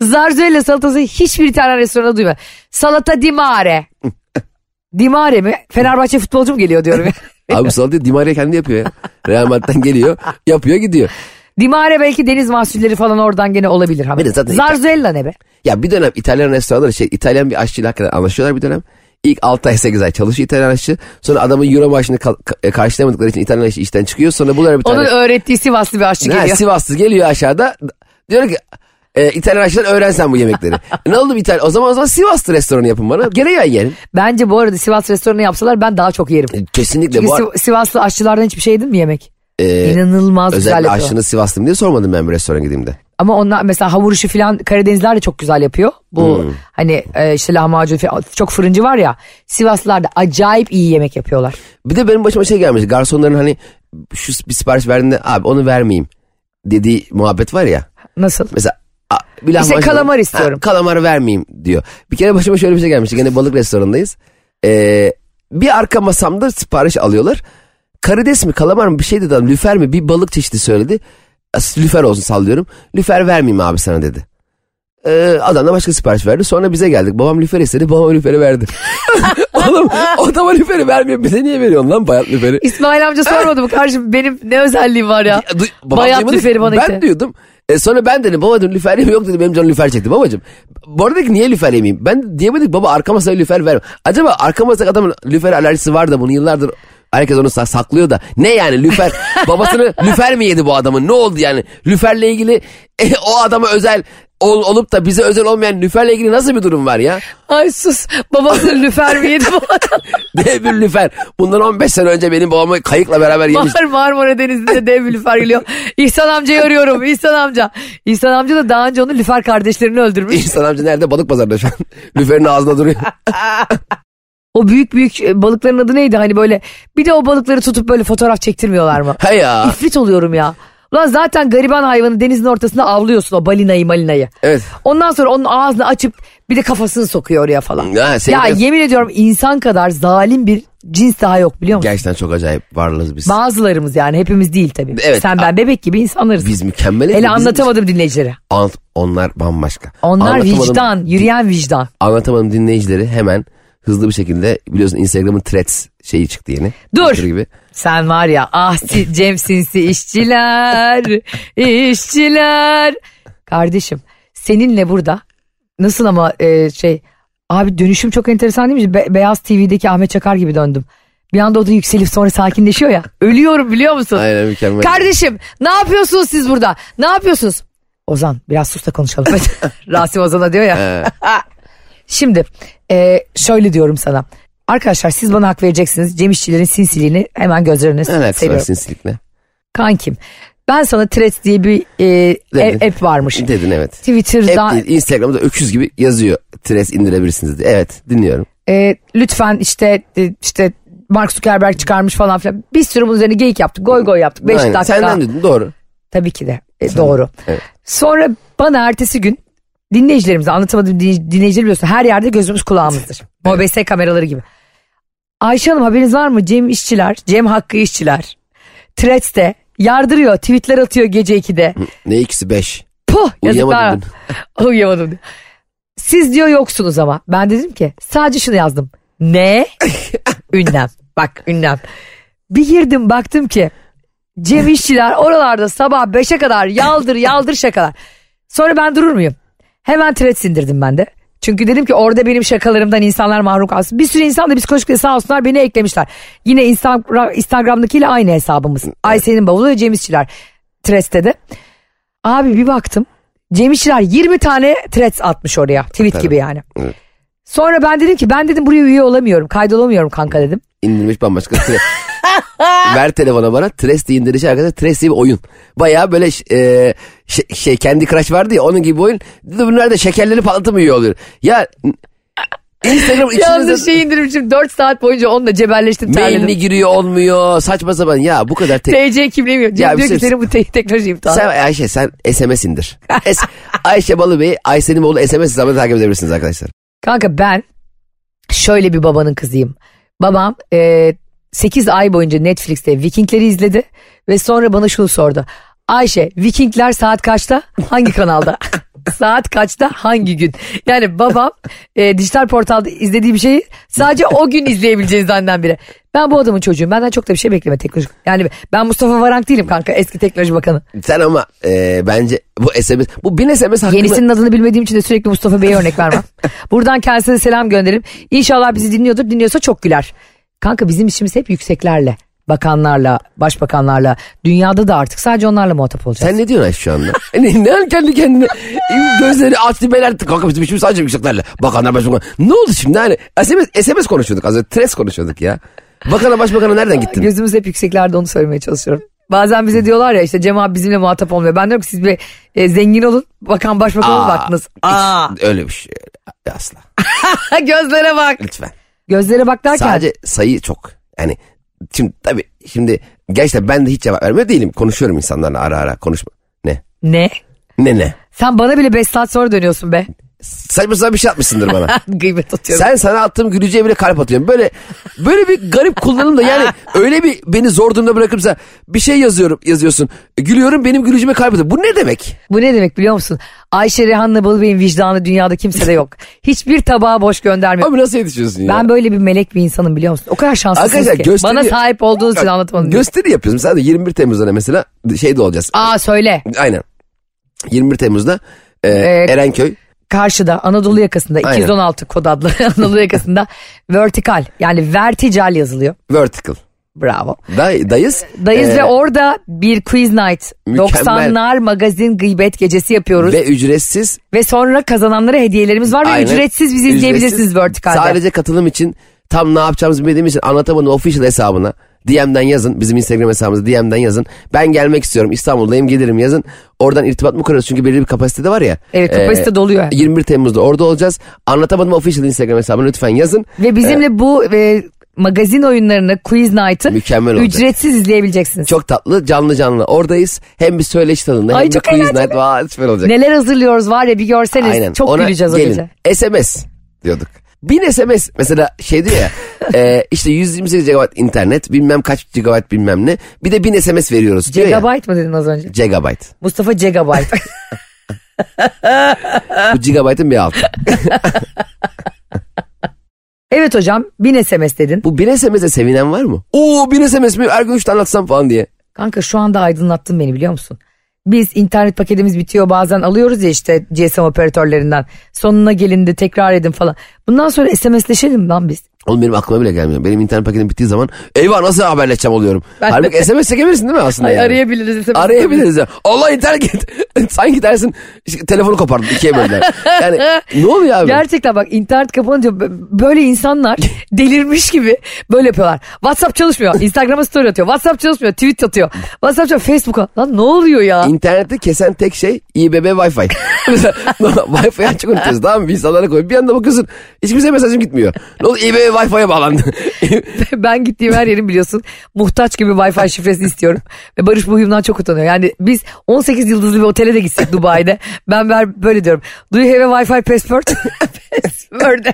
Speaker 2: Zarzuella salatası hiçbir İtalyan restoranda duyma. Salata di mare. di mare mi? Fenerbahçe futbolcu mu geliyor diyorum ya.
Speaker 3: Abi salatayı Di Maria kendi yapıyor ya. Real Madrid'den geliyor. Yapıyor gidiyor.
Speaker 2: Dimare belki deniz mahsulleri falan oradan gene olabilir.
Speaker 3: Bir de zaten-
Speaker 2: Zarzuella ne be?
Speaker 3: Ya bir dönem İtalyan restoranları şey İtalyan bir aşçıyla hakikaten anlaşıyorlar bir dönem. İlk 6 ay 8 ay çalışıyor İtalyan aşçı. Sonra adamın euro maaşını ka- ka- karşılayamadıkları için İtalyan aşçı işten çıkıyor. Sonra bunlara bir tane
Speaker 2: Onun öğrettiği Sivaslı bir aşçı
Speaker 3: Ha,
Speaker 2: geliyor.
Speaker 3: Sivaslı geliyor aşağıda. Diyor ki e, İtalyan aşçılar öğrensen bu yemekleri. ne oldu bir İtalyan? O zaman o zaman Sivaslı restoranı yapın bana. Gene yan yerim.
Speaker 2: Bence bu arada Sivas restoranı yapsalar ben daha çok yerim.
Speaker 3: E, Kesinlikle
Speaker 2: Çünkü
Speaker 3: bu ar-
Speaker 2: Siv- Sivaslı aşçılardan hiçbir şey yedin mi yemek?
Speaker 3: e,
Speaker 2: İnanılmaz güzel
Speaker 3: özellikle
Speaker 2: yapıyor.
Speaker 3: aşçınız Sivaslı mı diye sormadım ben bir restorana gittiğimde.
Speaker 2: Ama onlar mesela hamur işi falan Karadenizler de çok güzel yapıyor. Bu
Speaker 3: Hmm.
Speaker 2: hani e, işte lahmacun falan çok fırıncı var ya. Sivaslılar da acayip iyi yemek yapıyorlar.
Speaker 3: Bir de benim başıma şey gelmiş. Garsonların hani şu bir sipariş verdiğinde abi onu vermeyeyim dediği muhabbet var ya.
Speaker 2: Nasıl?
Speaker 3: Mesela a- bir lahmacun.
Speaker 2: kalamar istiyorum.
Speaker 3: kalamar vermeyeyim diyor. Bir kere başıma şöyle bir şey gelmişti. Gene balık restoranındayız. Ee, bir arka masamda sipariş alıyorlar. Karides mi kalamar mı bir şey dedi adam. Lüfer mi bir balık çeşidi söyledi. As- Lüfer olsun sallıyorum. Lüfer vermeyeyim abi sana dedi. Ee, adam da başka sipariş verdi. Sonra bize geldik. Babam lüfer istedi. Babam lüferi verdi. Oğlum adama lüferi vermiyor. Bize niye veriyorsun lan bayat lüferi?
Speaker 2: İsmail amca sormadı mı kardeşim benim ne özelliğim var ya?
Speaker 3: Du- babam
Speaker 2: Bayat
Speaker 3: duymadı ki.
Speaker 2: lüferi bana
Speaker 3: Ben
Speaker 2: ite.
Speaker 3: diyordum. E sonra ben dedim baba dedim lüfer yemiyor yok dedi benim canım lüfer çekti babacım. Bu arada ki niye lüfer yemeyeyim? Ben diyemedik baba arka masaya lüfer ver. Acaba arka masadaki adamın lüfer alerjisi var da bunu yıllardır herkes onu sa- saklıyor da. Ne yani lüfer babasını lüfer mi yedi bu adamın ne oldu yani? Lüferle ilgili e, o adama özel ol- olup da bize özel olmayan lüferle ilgili nasıl bir durum var ya?
Speaker 2: Ay sus babasının lüfer mi yedi bu adam?
Speaker 3: Dev bir lüfer. Bundan 15 sene önce benim babamı kayıkla beraber yemiş.
Speaker 2: Mar Marmara Denizi'nde dev bir lüfer geliyor. İhsan amcayı arıyorum İhsan amca. İhsan amca da daha önce onun lüfer kardeşlerini öldürmüş.
Speaker 3: İhsan amca nerede? Balık pazarında şu an. Lüferin ağzında duruyor.
Speaker 2: O büyük büyük e, balıkların adı neydi hani böyle bir de o balıkları tutup böyle fotoğraf çektirmiyorlar mı?
Speaker 3: He ya.
Speaker 2: İfrit oluyorum ya. Ulan zaten gariban hayvanı denizin ortasında avlıyorsun o balinayı malinayı.
Speaker 3: Evet.
Speaker 2: Ondan sonra onun ağzını açıp bir de kafasını sokuyor oraya falan.
Speaker 3: Ha, senin
Speaker 2: ya
Speaker 3: biraz-
Speaker 2: yemin ediyorum insan kadar zalim bir cins daha yok biliyor musun?
Speaker 3: Gerçekten çok acayip varlığız biz.
Speaker 2: Bazılarımız yani hepimiz değil tabii.
Speaker 3: Evet.
Speaker 2: Sen ben bebek gibi insanlarız.
Speaker 3: biz mükemmeliz.
Speaker 2: Hele
Speaker 3: Bizim-
Speaker 2: anlatamadım dinleyicilere.
Speaker 3: Ant- onlar bambaşka.
Speaker 2: Onlar
Speaker 3: Anlatamadım-
Speaker 2: vicdan, yürüyen vicdan.
Speaker 3: Anlatamadım dinleyicileri hemen hızlı bir şekilde biliyorsun Instagram'ın threads şeyi çıktı yeni.
Speaker 2: Dur.
Speaker 3: Twitter Gibi.
Speaker 2: Sen var ya ah si- Cem Sinsi işçiler, işçiler. Kardeşim seninle burada nasıl ama e, şey abi dönüşüm çok enteresan değil mi? Be- Beyaz TV'deki Ahmet Çakar gibi döndüm. Bir anda o da yükselip sonra sakinleşiyor ya. Ölüyorum biliyor musun?
Speaker 3: Aynen mükemmel.
Speaker 2: Kardeşim ne yapıyorsunuz siz burada? Ne yapıyorsunuz? Ozan biraz sus da konuşalım. Rasim Ozan'a diyor ya.
Speaker 3: Ee,
Speaker 2: Şimdi e, şöyle diyorum sana. Arkadaşlar siz bana hak vereceksiniz. Cem İşçilerin sinsiliğini hemen göz önüne
Speaker 3: ne alakası var
Speaker 2: seriyorum.
Speaker 3: sinsilikle?
Speaker 2: Kankim ben sana Threads diye bir e,
Speaker 3: Dedin.
Speaker 2: e- app varmış.
Speaker 3: Dedin evet. App
Speaker 2: Twitter'da
Speaker 3: değil, Instagram'da öküz gibi yazıyor. Threads indirebilirsiniz diye. Evet dinliyorum.
Speaker 2: e, lütfen işte e, işte Mark Zuckerberg çıkarmış falan filan. Bir sürü bunun üzerine geyik yaptık. Goy goy yaptık. 5
Speaker 3: Aynen.
Speaker 2: dakika.
Speaker 3: Senden dedim doğru.
Speaker 2: Tabii ki de E, doğru.
Speaker 3: Evet.
Speaker 2: Sonra bana ertesi gün dinleyicilerimize anlatamadım dinley- dinleyiciler biliyorsun her yerde gözümüz kulağımızdır. OBS kameraları gibi. Ayşe Hanım haberiniz var mı? Cem İşçiler, Cem Hakkı İşçiler. Threads'te yardırıyor, tweetler atıyor gece 2'de.
Speaker 3: Ne ikisi beş.
Speaker 2: Puh yazıklar.
Speaker 3: Uyuyamadım
Speaker 2: olsun. Uyuyamadım. diyor. Siz diyor yoksunuz ama. Ben dedim ki sadece şunu yazdım. Ne? ünlem. Bak ünlem. Bir girdim baktım ki Cem İşçiler oralarda sabah 5'e kadar yaldır yaldır şakalar. Sonra ben durur muyum? Hemen thread sindirdim ben de. Çünkü dedim ki orada benim şakalarımdan insanlar mahrum kalsın. Bir sürü insan da psikolojik sağ olsunlar beni eklemişler. Yine Instagram, Instagram'dakiyle aynı hesabımız. Ayşe'nin bavulu ve Cem İşçiler. Threads'te de. Abi bir baktım. Cem İşçiler 20 tane threads atmış oraya. Tweet gibi yani.
Speaker 3: Evet.
Speaker 2: Sonra ben dedim ki ben dedim buraya üye olamıyorum. Kaydolamıyorum kanka dedim.
Speaker 3: İndirmiş bambaşka. Threads. Ver telefona bana. Threads diye indirişi arkadaşlar. Threads diye bir oyun. Baya böyle ş- e, şey, şey kendi crush vardı ya onun gibi bir oyun. Bunlar da şekerleri patlatıp mı yiyor oluyor. Ya Instagram içinde
Speaker 2: Yalnız şey indirmişim 4 saat boyunca onunla cebelleştim
Speaker 3: mailini
Speaker 2: terledim.
Speaker 3: giriyor olmuyor. Saçma sapan ya bu kadar tek...
Speaker 2: TC kimliğim yok.
Speaker 3: Ya
Speaker 2: Cem
Speaker 3: bir
Speaker 2: diyor ki
Speaker 3: şey-
Speaker 2: senin bu te- teknoloji iptal.
Speaker 3: Sen Ayşe sen SMS indir. Es- Ayşe Balıbey, Ayşe'nin oğlu SMS hesabını takip edebilirsiniz arkadaşlar.
Speaker 2: Kanka ben şöyle bir babanın kızıyım. Babam 8 ay boyunca Netflix'te Vikingleri izledi ve sonra bana şunu sordu. Ayşe Vikingler saat kaçta hangi kanalda? saat kaçta hangi gün? Yani babam e, dijital portalda izlediği bir şeyi sadece o gün izleyebileceğiz zanneden biri. Ben bu adamın çocuğum. Benden çok da bir şey bekleme teknoloji. Yani ben Mustafa Varank değilim kanka eski teknoloji bakanı.
Speaker 3: Sen ama e, bence bu SMS, bu bin SMS hakkında...
Speaker 2: Yenisinin adını bilmediğim için de sürekli Mustafa Bey'e örnek vermem. Buradan kendisine selam gönderim. İnşallah bizi dinliyordur. Dinliyorsa çok güler. Kanka bizim işimiz hep yükseklerle. Bakanlarla, başbakanlarla. Dünyada da artık sadece onlarla muhatap olacağız.
Speaker 3: Sen ne diyorsun Ayşe şu anda? E ne, ne kendi kendine gözleri açtı belerdi. Kanka bizim işimiz sadece yükseklerle. Bakanlar başbakan. Ne oldu şimdi hani? SMS, SMS konuşuyorduk az önce. Tres konuşuyorduk ya. Bakana başbakana nereden gittin?
Speaker 2: Gözümüz hep yükseklerde onu söylemeye çalışıyorum. Bazen bize diyorlar ya işte Cem abi bizimle muhatap olmuyor. Ben diyorum ki siz bir e, zengin olun bakan başbakan olun
Speaker 3: Aa,
Speaker 2: baktınız.
Speaker 3: hiç
Speaker 2: Aa,
Speaker 3: Öyle bir şey. Asla.
Speaker 2: gözlere bak.
Speaker 3: Lütfen.
Speaker 2: Gözlere bak derken.
Speaker 3: Sadece sayı çok. Yani şimdi tabii şimdi gerçekten ben de hiç cevap vermiyor değilim. Konuşuyorum insanlarla ara ara konuşma. Ne?
Speaker 2: Ne?
Speaker 3: Ne ne?
Speaker 2: Sen bana bile 5 saat sonra dönüyorsun be.
Speaker 3: Saçma sapan bir şey atmışsındır bana.
Speaker 2: Gıybet atıyorum.
Speaker 3: Sen sana attığım güleceğe bile kalp atıyorum. Böyle böyle bir garip kullanım da yani öyle bir beni zor durumda bırakıp sen bir şey yazıyorum yazıyorsun. E, Gülüyorum benim gülücüme kalp atıyor. Bu ne demek?
Speaker 2: Bu ne demek biliyor musun? Ayşe Rehan'la Balıbey'in vicdanı dünyada kimsede yok. Hiçbir tabağa boş göndermiyor.
Speaker 3: Abi nasıl yetişiyorsun ya?
Speaker 2: Ben böyle bir melek bir insanım biliyor musun? O kadar şanslısınız
Speaker 3: Arkadaşlar
Speaker 2: ki.
Speaker 3: gösteri-
Speaker 2: Bana sahip olduğunuz için anlatamadım.
Speaker 3: Gösteri yapıyoruz. Mesela 21 Temmuz'da ne mesela şey de olacağız.
Speaker 2: Aa söyle.
Speaker 3: Aynen. 21 Temmuz'da e,
Speaker 2: Evet.
Speaker 3: Erenköy.
Speaker 2: Karşıda Anadolu yakasında
Speaker 3: Aynen.
Speaker 2: 216 kod adlı Anadolu yakasında vertikal yani vertical yazılıyor.
Speaker 3: Vertical.
Speaker 2: Bravo.
Speaker 3: Day, dayız.
Speaker 2: Dayız
Speaker 3: E,
Speaker 2: ve orada bir quiz night
Speaker 3: Mükemmel.
Speaker 2: 90'lar magazin gıybet gecesi yapıyoruz. Ve,
Speaker 3: E, ve ücretsiz.
Speaker 2: sonra kazananlara hediyelerimiz var ve
Speaker 3: Aynen.
Speaker 2: ücretsiz bizi izleyebilirsiniz
Speaker 3: Ücretsiz.
Speaker 2: vertikalde.
Speaker 3: Sadece katılım için tam ne yapacağımızı bilmediğim için anlatamadım official hesabına. DM'den yazın. Bizim Instagram hesabımıza DM'den yazın. Ben gelmek istiyorum. İstanbul'dayım gelirim yazın. Oradan irtibat mı kurarız? Çünkü belirli bir kapasitede var ya.
Speaker 2: Evet, kapasite doluyor.
Speaker 3: 21 Temmuz'da orada olacağız. Anlatamadım official Instagram hesabına lütfen yazın.
Speaker 2: Ve bizimle bu e, magazin oyunlarını quiz night'ı
Speaker 3: Mükemmel olacak.
Speaker 2: ücretsiz izleyebileceksiniz.
Speaker 3: Çok tatlı canlı canlı oradayız. Hem bir söyleşi tadında
Speaker 2: Ay,
Speaker 3: hem de
Speaker 2: çok
Speaker 3: quiz
Speaker 2: eğlenceli.
Speaker 3: night. Vay, süper olacak.
Speaker 2: Neler hazırlıyoruz var ya bir görseniz çok
Speaker 3: Ona
Speaker 2: güleceğiz o
Speaker 3: gelin.
Speaker 2: gece.
Speaker 3: SMS diyorduk. Bin SMS mesela şey diyor ya e, işte 128 GB internet bilmem kaç GB bilmem ne bir de bin SMS veriyoruz diyor ya.
Speaker 2: Gigabyte mı dedin az önce?
Speaker 3: Gigabyte.
Speaker 2: Mustafa Gigabyte. Ah.
Speaker 3: Bu gigabyte'ın bir altı.
Speaker 2: evet hocam 1000 SMS dedin.
Speaker 3: Bu bin SMS'e sevinen var mı? Oo bin SMS mi? Her gün üç tane atsam falan diye.
Speaker 2: Kanka şu anda aydınlattın beni biliyor musun? Biz internet paketimiz bitiyor bazen alıyoruz ya işte GSM operatörlerinden. Sonuna gelin de tekrar edin falan. Bundan sonra SMS'leşelim lan biz.
Speaker 3: Oğlum benim aklıma bile gelmiyor. Benim internet paketim bittiği zaman eyvah nasıl haberleşeceğim oluyorum.
Speaker 2: Ben-
Speaker 3: Halbuki SMS çekebilirsin değil mi aslında yani?
Speaker 2: arayabiliriz SMS.
Speaker 3: Arayabiliriz ya. Allah internet git. Sanki dersin işte, telefonu kopardım ikiye böldüler. Yani ne oluyor abi?
Speaker 2: Gerçekten bak internet kapanınca b- böyle insanlar delirmiş gibi böyle yapıyorlar. WhatsApp çalışmıyor. Instagram'a story atıyor. WhatsApp çalışmıyor. Tweet atıyor. WhatsApp çalışmıyor. Facebook'a. Lan ne oluyor ya?
Speaker 3: İnterneti kesen tek şey İBB Wi-Fi. Mesela Wi-Fi açık unutuyoruz tamam mı? İnsanlara koy. Bir anda bakıyorsun hiç kimseye mesajım gitmiyor. Ne oldu İBB Wi-Fi'ye bağlandı.
Speaker 2: ben gittiğim her yerin biliyorsun muhtaç gibi Wi-Fi şifresi istiyorum. Ve Barış bu huyumdan çok utanıyor. Yani biz 18 yıldızlı bir otele de gitsek Dubai'de. Ben ben böyle diyorum. Do you have a Wi-Fi password? password.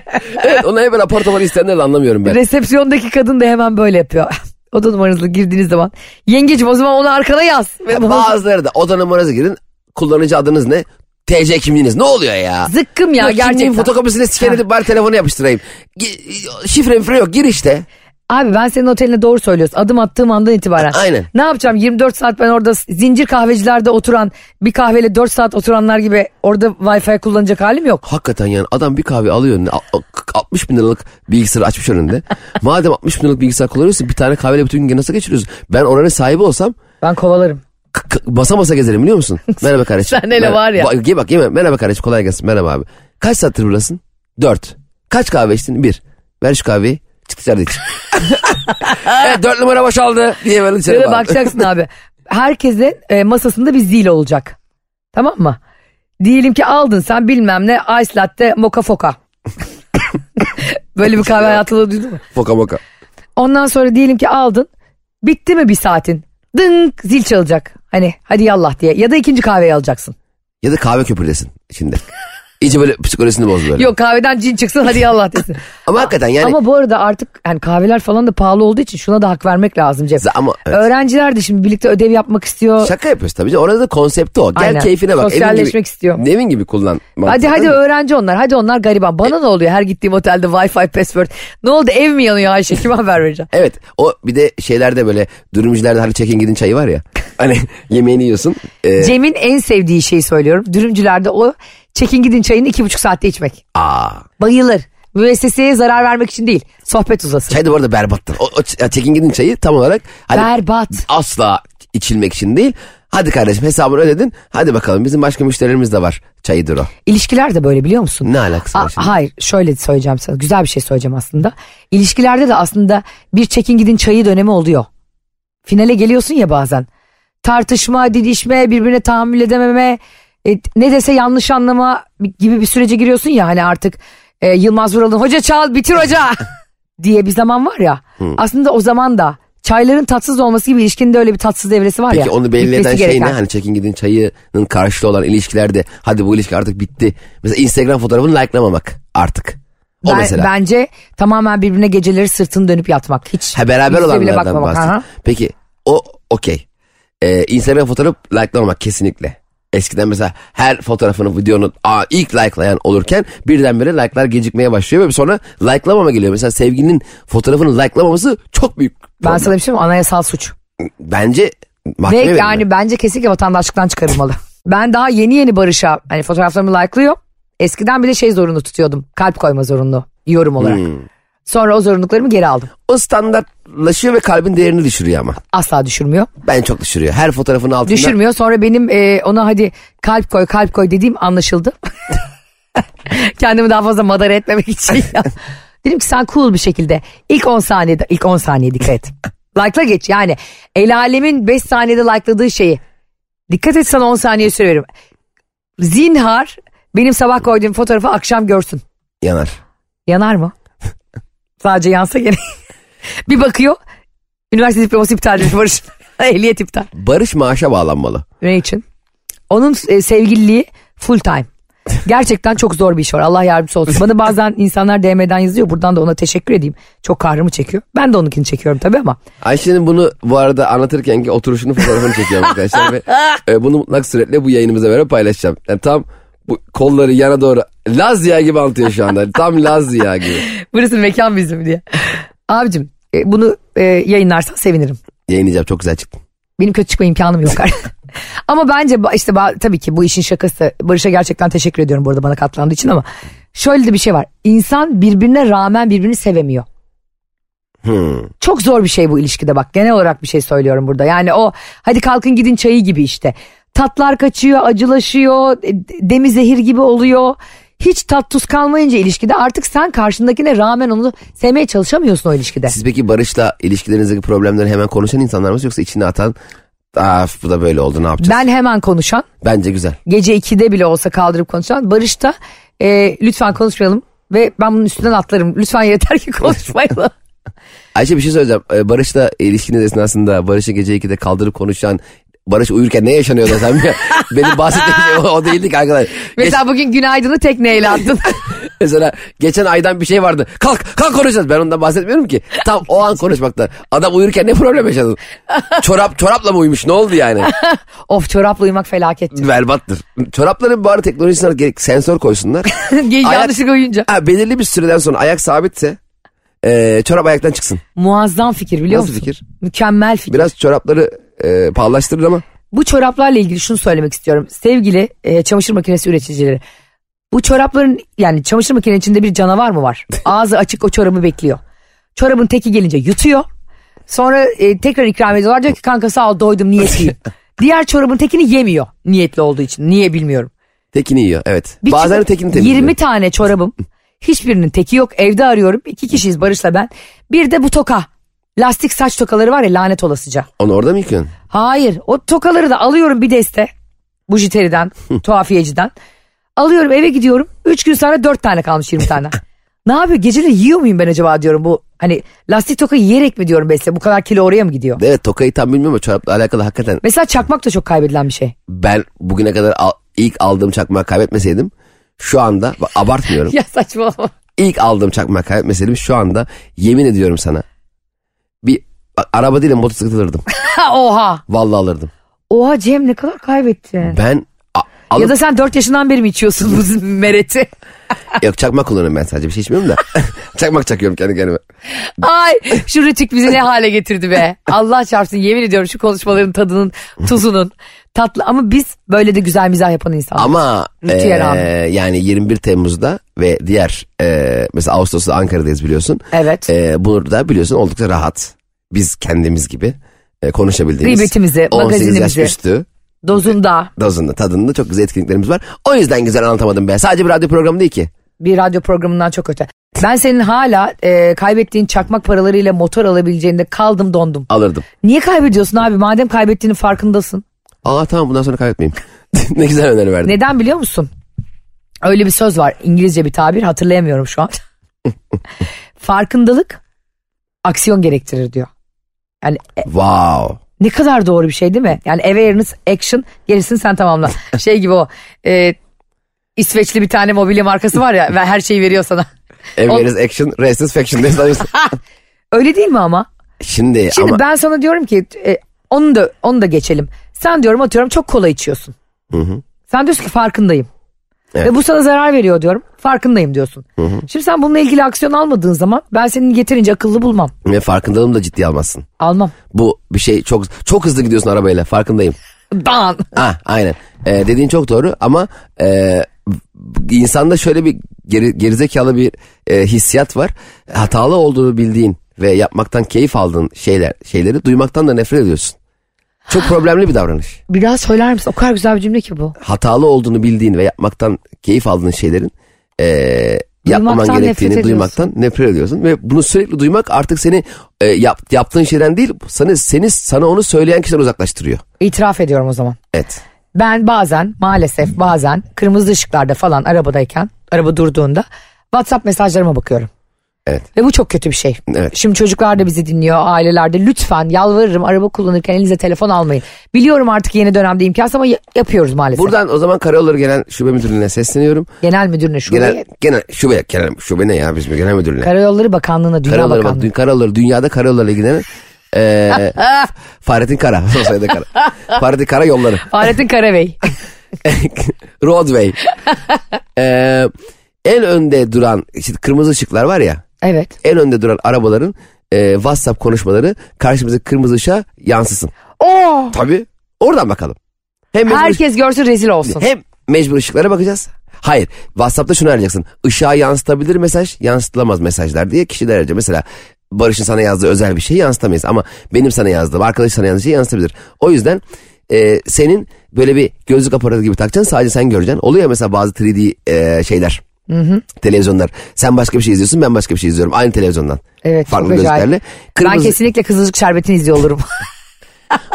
Speaker 3: evet, ona hep böyle apartmanı isteyenleri de anlamıyorum ben.
Speaker 2: Resepsiyondaki kadın da hemen böyle yapıyor. Oda numaranızla girdiğiniz zaman. Yengeciğim o zaman onu arkana yaz. Ve bana-
Speaker 3: Bazıları da oda numaranızı girin. Kullanıcı adınız ne? TC kimliğiniz. Ne oluyor ya?
Speaker 2: Zıkkım ya
Speaker 3: Yok, kimliğin
Speaker 2: gerçekten.
Speaker 3: fotokopisini scan edip bari telefonu yapıştırayım. Gi- Şifre mifre yok gir işte.
Speaker 2: Abi ben senin oteline doğru söylüyorsun. Adım attığım andan itibaren.
Speaker 3: Aynen.
Speaker 2: Ne yapacağım 24 saat ben orada zincir kahvecilerde oturan bir kahveyle 4 saat oturanlar gibi orada Wi-Fi kullanacak halim yok.
Speaker 3: Hakikaten yani adam bir kahve alıyor önüne. A- a- 60 bin liralık bilgisayarı açmış önünde. Madem 60 bin liralık bilgisayar kullanıyorsun bir tane kahveyle bütün gün nasıl geçiriyorsun? Ben oranın sahibi olsam
Speaker 2: Ben kovalarım.
Speaker 3: k- k- basa basa gezerim biliyor musun? Merhaba kardeşim.
Speaker 2: Sen hele
Speaker 3: Merhaba.
Speaker 2: var ya.
Speaker 3: Bak, ye bak yeme. Merhaba kardeşim kolay gelsin. Merhaba abi. Kaç saattir buradasın? Dört. Kaç kahve içtin? Bir. Ver şu kahveyi. Çık dışarıda iç. evet dört numara boşaldı diye böyle dışarı
Speaker 2: Böyle
Speaker 3: bağırdı.
Speaker 2: bakacaksın abi. Herkesin e, masasında bir zil olacak. Tamam mı? Diyelim ki aldın sen bilmem ne ice latte moka foka. Böyle bir kahve hayatında duydun mu?
Speaker 3: Foka moka.
Speaker 2: Ondan sonra diyelim ki aldın. Bitti mi bir saatin? Dınk zil çalacak. Hani hadi yallah diye. Ya da ikinci kahveyi alacaksın.
Speaker 3: Ya da kahve köpürdesin içinde. İyice böyle psikolojisini boz böyle.
Speaker 2: Yok kahveden cin çıksın hadi yallah desin.
Speaker 3: Ama hakikaten yani.
Speaker 2: Ama bu arada artık yani kahveler falan da pahalı olduğu için şuna da hak vermek lazım Cem.
Speaker 3: Z- ama- evet.
Speaker 2: Öğrenciler de şimdi birlikte ödev yapmak istiyor.
Speaker 3: Şaka yapıyorsun tabii. canım. Orada da konsepti o. Gel
Speaker 2: Aynen.
Speaker 3: keyfine bak. Evin gibi-
Speaker 2: Sosyalleşmek istiyor.
Speaker 3: Evin gibi kullan.
Speaker 2: Hadi
Speaker 3: mantıklı
Speaker 2: hadi
Speaker 3: değil mi? E-
Speaker 2: öğrenci onlar. Hadi onlar gariban. Bana ne oluyor her gittiğim otelde Wi-Fi password. Ne oldu ev mi yanıyor Ayşe? Kime haber vereceğim?
Speaker 3: Evet o bir de şeylerde böyle dürümcülerde hani çekin gidin çayı var ya. Hani yemeğini yiyorsun. e,
Speaker 2: Cem'in en sevdiği şeyi söylüyorum. Dürümcülerde o çekin gidin çayını iki buçuk saatte içmek.
Speaker 3: aa,
Speaker 2: Bayılır. Müesseseye zarar vermek için değil. Sohbet uzasın.
Speaker 3: çay da bu arada berbattır. O, o ç- çekin gidin çayı tam olarak hani
Speaker 2: Berbat.
Speaker 3: asla içilmek için değil. Hadi kardeşim hesabını ödedin. Hadi bakalım bizim başka müşterilerimiz de var. Çayıdır o.
Speaker 2: İlişkiler de böyle biliyor musun?
Speaker 3: Ne alakası var
Speaker 2: A-
Speaker 3: şimdi?
Speaker 2: Hayır şöyle söyleyeceğim sana. Güzel bir şey söyleyeceğim aslında. İlişkilerde de aslında bir çekin gidin çayı dönemi oluyor. Finale geliyorsun ya bazen. Tartışma, didişme, birbirine tahammül edememe, e, ne dese yanlış anlama gibi bir sürece giriyorsun ya hani artık e, Yılmaz Vural'ın hoca çal bitir hoca diye bir zaman var ya. Aslında o zaman da çayların tatsız olması gibi ilişkinde öyle bir tatsız devresi var ya.
Speaker 3: Peki onu belli
Speaker 2: bitmesi
Speaker 3: eden şey ne?
Speaker 2: gereken.
Speaker 3: Hani çekin gidin çayının karşılığı olan ilişkilerde hadi bu ilişki artık bitti. Mesela Instagram fotoğrafını likelamamak artık. O
Speaker 2: Ben-
Speaker 3: mesela.
Speaker 2: Bence tamamen birbirine geceleri sırtını dönüp yatmak. Hiç
Speaker 3: ha, beraber
Speaker 2: yüzüne bile
Speaker 3: olanlardan
Speaker 2: bakmamak. Aha.
Speaker 3: bahsediyorum. Peki o okey. Ee, Instagram fotoğrafı likelamamak kesinlikle. Eskiden mesela her fotoğrafını, videonun aa, ilk likelayan olurken birdenbire like'lar gecikmeye başlıyor ve sonra like'lamama geliyor. Mesela sevginin fotoğrafını like'lamaması çok büyük.
Speaker 2: Ben
Speaker 3: problem. Ah,
Speaker 2: sana bir şey mi? Anayasal suç.
Speaker 3: Bence
Speaker 2: Ve
Speaker 3: mahkeme
Speaker 2: yani
Speaker 3: yani...
Speaker 2: bence kesinlikle vatandaşlıktan çıkarılmalı. ben daha yeni yeni Barış'a hani fotoğraflarımı like'lıyor. Eskiden bir de şey zorunlu tutuyordum. Kalp koyma zorunlu yorum olarak.
Speaker 3: Hmm.
Speaker 2: Sonra o zorunluluklarımı geri aldım.
Speaker 3: O standartlaşıyor ve kalbin değerini düşürüyor ama.
Speaker 2: Asla düşürmüyor.
Speaker 3: Ben çok düşürüyor. Her fotoğrafın altında.
Speaker 2: Düşürmüyor. Sonra benim e, ona hadi kalp koy kalp koy dediğim anlaşıldı. Kendimi daha fazla madara etmemek için. Dedim ki sen cool bir şekilde ilk 10 saniyede ilk 10 saniye dikkat et. Like'la geç yani. El alemin 5 saniyede like'ladığı şeyi. Dikkat et sana 10 saniye süre veriyorum. Zinhar benim sabah koyduğum fotoğrafı akşam görsün.
Speaker 3: Yanar.
Speaker 2: Yanar mı? Sadece yansa gene. bir bakıyor. Üniversite diploması iptal edilmiş Barış. Ehliyet iptal.
Speaker 3: Barış maaşa bağlanmalı.
Speaker 2: Ne için? Onun e, sevgililiği full time. Gerçekten çok zor bir iş var. Allah yardımcısı olsun. Bana bazen insanlar DM'den yazıyor. Buradan da ona teşekkür edeyim. Çok kahrımı çekiyor. Ben de onunkini çekiyorum tabii ama.
Speaker 3: Ayşe'nin bunu bu arada anlatırken ki oturuşunu fotoğrafını çekiyorum arkadaşlar ve e, bunu mutlak suretle bu yayınımıza beraber paylaşacağım. Yani tam bu kolları yana doğru Laz ya gibi anlatıyor şu anda. Tam Laz ya gibi.
Speaker 2: Burası mekan bizim diye. Abicim e, bunu e, yayınlarsan sevinirim.
Speaker 3: Yayınlayacağım çok güzel çıktı.
Speaker 2: Benim kötü çıkma imkanım yok. ama bence ba- işte ba- tabii ki bu işin şakası. Barış'a gerçekten teşekkür ediyorum burada bana katlandığı için ama. Şöyle de bir şey var. İnsan birbirine rağmen birbirini sevemiyor.
Speaker 3: Hmm.
Speaker 2: Çok zor bir şey bu ilişkide bak. Genel olarak bir şey söylüyorum burada. Yani o hadi kalkın gidin çayı gibi işte. Tatlar kaçıyor, acılaşıyor, e, demi zehir gibi oluyor. Hiç tat tuz kalmayınca ilişkide artık sen karşındakine rağmen onu sevmeye çalışamıyorsun o ilişkide.
Speaker 3: Siz peki Barış'la ilişkilerinizdeki problemleri hemen konuşan insanlar mısınız yoksa içine atan Aa, bu da böyle oldu ne yapacağız?
Speaker 2: Ben hemen konuşan,
Speaker 3: Bence güzel.
Speaker 2: gece 2'de bile olsa kaldırıp konuşan, Barış da e, lütfen konuşmayalım ve ben bunun üstünden atlarım. Lütfen yeter ki konuşmayalım.
Speaker 3: Ayşe bir şey söyleyeceğim. Ee, Barış'la ilişkiniz esnasında Barış'ı gece 2'de kaldırıp konuşan Barış uyurken ne yaşanıyor da sen bir- Benim bahsettiğim şey o, o değildi ki arkadaş. Geç-
Speaker 2: Mesela bugün günaydını tekneyle attın.
Speaker 3: mesela geçen aydan bir şey vardı. Kalk kalk konuşacağız. Ben ondan bahsetmiyorum ki. Tam o an konuşmaktan. Adam uyurken ne problem yaşadın? Çorap çorapla mı uyumuş ne oldu yani?
Speaker 2: of çorapla uyumak felaket.
Speaker 3: Berbattır. Çorapların bari teknolojisine gerek sensör koysunlar.
Speaker 2: Yanlışlıkla uyuyunca.
Speaker 3: Ha, belirli bir süreden sonra ayak sabitse e, çorap ayaktan çıksın.
Speaker 2: Muazzam fikir biliyor
Speaker 3: Nasıl
Speaker 2: musun?
Speaker 3: fikir?
Speaker 2: Mükemmel fikir.
Speaker 3: Biraz çorapları e, pahalaştırır ama
Speaker 2: Bu çoraplarla ilgili şunu söylemek istiyorum. Sevgili e, çamaşır makinesi üreticileri. Bu çorapların yani çamaşır makinenin içinde bir canavar mı var? Ağzı açık o çorabı bekliyor. Çorabın teki gelince yutuyor. Sonra e, tekrar ikram ediyorlar. Diyor ki kanka sağ ol doydum niyetliyim. Diğer çorabın tekini yemiyor niyetli olduğu için. Niye bilmiyorum.
Speaker 3: tekini yiyor evet.
Speaker 2: Bir
Speaker 3: Bazen de
Speaker 2: çorap-
Speaker 3: tekini temizliyor.
Speaker 2: 20 tane çorabım. Hiçbirinin teki yok. Evde arıyorum. İki kişiyiz Barış'la ben. Bir de bu toka. Lastik saç tokaları var ya lanet olasıca.
Speaker 3: Onu orada mı yıkıyorsun?
Speaker 2: Hayır. O tokaları da alıyorum bir deste. Bujiteriden, tuhafiyeciden. Alıyorum eve gidiyorum. Üç gün sonra dört tane kalmış 20 tane. ne yapıyor? Geceleri yiyor muyum ben acaba diyorum bu. Hani lastik toka yiyerek mi diyorum Beste? Bu kadar kilo oraya mı gidiyor?
Speaker 3: Evet tokayı tam bilmiyorum ama çorapla alakalı hakikaten
Speaker 2: Mesela çakmak da çok kaybedilen bir şey.
Speaker 3: ben bugüne kadar al- ilk aldığım çakmağı kaybetmeseydim şu anda bak, abartmıyorum.
Speaker 2: ya saçmalama.
Speaker 3: ilk aldığım çakmağı kaybetmeseydim şu anda yemin ediyorum sana bir bak, araba değil de motosiklet alırdım.
Speaker 2: Ha, Oha.
Speaker 3: Vallahi alırdım.
Speaker 2: Oha Cem ne kadar kaybettin.
Speaker 3: Ben a- alıp
Speaker 2: Ya da sen 4 yaşından beri mi içiyorsun bu mereti?
Speaker 3: yok çakmak kullanıyorum ben sadece bir şey içmiyorum da. çakmak çakıyorum kendi kendime.
Speaker 2: Ay şu Rütük bizi ne hale getirdi be. Allah çarpsın yemin ediyorum şu konuşmaların tadının tuzunun tatlı ama biz böyle de güzel mizah yapan insanlar.
Speaker 3: Ama
Speaker 2: Rütü'ye
Speaker 3: eee,
Speaker 2: rağmen.
Speaker 3: yani 21 Temmuz'da ve diğer eee, mesela Ağustos'ta Ankara'dayız biliyorsun.
Speaker 2: evet.
Speaker 3: Ee, burada biliyorsun oldukça rahat. Biz kendimiz gibi e, konuşabildiğimiz.
Speaker 2: Gıybetimizi,
Speaker 3: 18 yaş
Speaker 2: magazinimizi.
Speaker 3: üstü
Speaker 2: Dozunda
Speaker 3: dozunda tadında çok güzel etkinliklerimiz var. O yüzden güzel anlatamadım ben. Sadece bir radyo programı değil ki.
Speaker 2: bir radyo programından çok öte. Ben senin hala e, kaybettiğin çakmak paralarıyla motor alabileceğinde kaldım dondum.
Speaker 3: Alırdım.
Speaker 2: Niye kaybediyorsun abi madem kaybettiğinin farkındasın.
Speaker 3: Aa tamam bundan sonra kaybetmeyeyim. ne güzel öneri verdin.
Speaker 2: Neden biliyor musun? Öyle bir söz var İngilizce bir tabir hatırlayamıyorum şu an. Farkındalık aksiyon gerektirir diyor. Yani e,
Speaker 3: Wow.
Speaker 2: ne kadar doğru bir şey değil mi? Yani awareness, action, gerisini sen tamamla. Şey gibi o. E, İsveçli bir tane mobilya markası var ya ve her şeyi veriyor sana.
Speaker 3: Awareness action, restless faction diye sanıyorsun.
Speaker 2: Öyle değil mi ama?
Speaker 3: Şimdi,
Speaker 2: Şimdi
Speaker 3: ama
Speaker 2: ben sana diyorum ki e, onu da onu da geçelim. Sen diyorum atıyorum çok kola içiyorsun. Sen diyorsun ki farkındayım.
Speaker 3: Evet.
Speaker 2: Ve bu sana zarar veriyor diyorum. Farkındayım diyorsun. Şimdi sen bununla ilgili aksiyon almadığın zaman ben seni yeterince akıllı bulmam.
Speaker 3: ve farkındalığını da ciddiye almazsın.
Speaker 2: Almam.
Speaker 3: Bu bir şey çok çok hızlı gidiyorsun arabayla farkındayım.
Speaker 2: Dan.
Speaker 3: Ha aynen. Ee, dediğin çok doğru ama e, insanda şöyle bir geri, gerizekalı bir e, hissiyat var. Hatalı olduğunu bildiğin ve yapmaktan keyif aldığın şeyler şeyleri duymaktan da nefret ediyorsun. Çok problemli bir davranış.
Speaker 2: Bir daha söyler misin? O kadar güzel bir cümle ki bu.
Speaker 3: Hatalı olduğunu bildiğin ve yapmaktan keyif aldığın şeylerin e, yapmaman
Speaker 2: Duymaktan
Speaker 3: gerektiğini
Speaker 2: nefret
Speaker 3: duymaktan nefret ediyorsun ve bunu sürekli duymak artık seni e, yap- yaptığın şeyden değil sana seni sana onu söyleyen kişiden uzaklaştırıyor.
Speaker 2: İtiraf ediyorum o zaman.
Speaker 3: Evet.
Speaker 2: Ben bazen maalesef bazen kırmızı ışıklarda falan arabadayken araba durduğunda WhatsApp mesajlarıma bakıyorum.
Speaker 3: Evet.
Speaker 2: Ve bu çok kötü bir şey.
Speaker 3: Evet.
Speaker 2: Şimdi çocuklar da bizi dinliyor ailelerde. Lütfen yalvarırım araba kullanırken elinize telefon almayın. Biliyorum artık yeni dönemde imkansız ama ya- yapıyoruz maalesef.
Speaker 3: Buradan o zaman Karayolları Genel Şube Müdürlüğü'ne sesleniyorum.
Speaker 2: Genel müdürüne şubeye,
Speaker 3: Genel, genel şube, genel, şube ne ya bizim genel müdürlüğüne.
Speaker 2: Karayolları Bakanlığı'na, Dünya
Speaker 3: Karayolları, bak,
Speaker 2: Bakanlığı'na.
Speaker 3: dün, karayolları, dünyada karayolları ilgilenen eee Fahrettin Kara. Son sayıda Kara. Fahrettin Kara yolları.
Speaker 2: Fahrettin Karabey.
Speaker 3: Roadway. Eee, en önde duran işte kırmızı ışıklar var ya.
Speaker 2: evet.
Speaker 3: En önde duran arabaların eee, WhatsApp konuşmaları karşımızdaki kırmızı ışığa yansısın.
Speaker 2: Oo,
Speaker 3: Tabii. Oradan bakalım. Hem mecbur-
Speaker 2: Oh! herkes görsün rezil olsun.
Speaker 3: Hem mecbur ışıklara bakacağız. Hayır. WhatsApp'ta şunu arayacaksın. Işığa yansıtabilir mesaj, yansıtılamaz mesajlar diye kişiler arayacak. Mesela Barış'ın sana yazdığı özel bir şeyi yansıtamayız. Ama benim sana yazdığım, arkadaş sana yazdığı şeyi yansıtabilir. O yüzden e, senin böyle bir gözlük aparatı gibi takacaksın. Sadece sen göreceksin. Oluyor ya mesela bazı 3D e, şeyler. Televizyonlar. Sen başka bir şey izliyorsun, ben başka bir şey izliyorum. Aynı televizyondan.
Speaker 2: Evet,
Speaker 3: Farklı
Speaker 2: çok acayip.
Speaker 3: gözlüklerle.
Speaker 2: Ben
Speaker 3: Kırmızı-
Speaker 2: kesinlikle Kızılcık Şerbeti'ni izliyor olurum.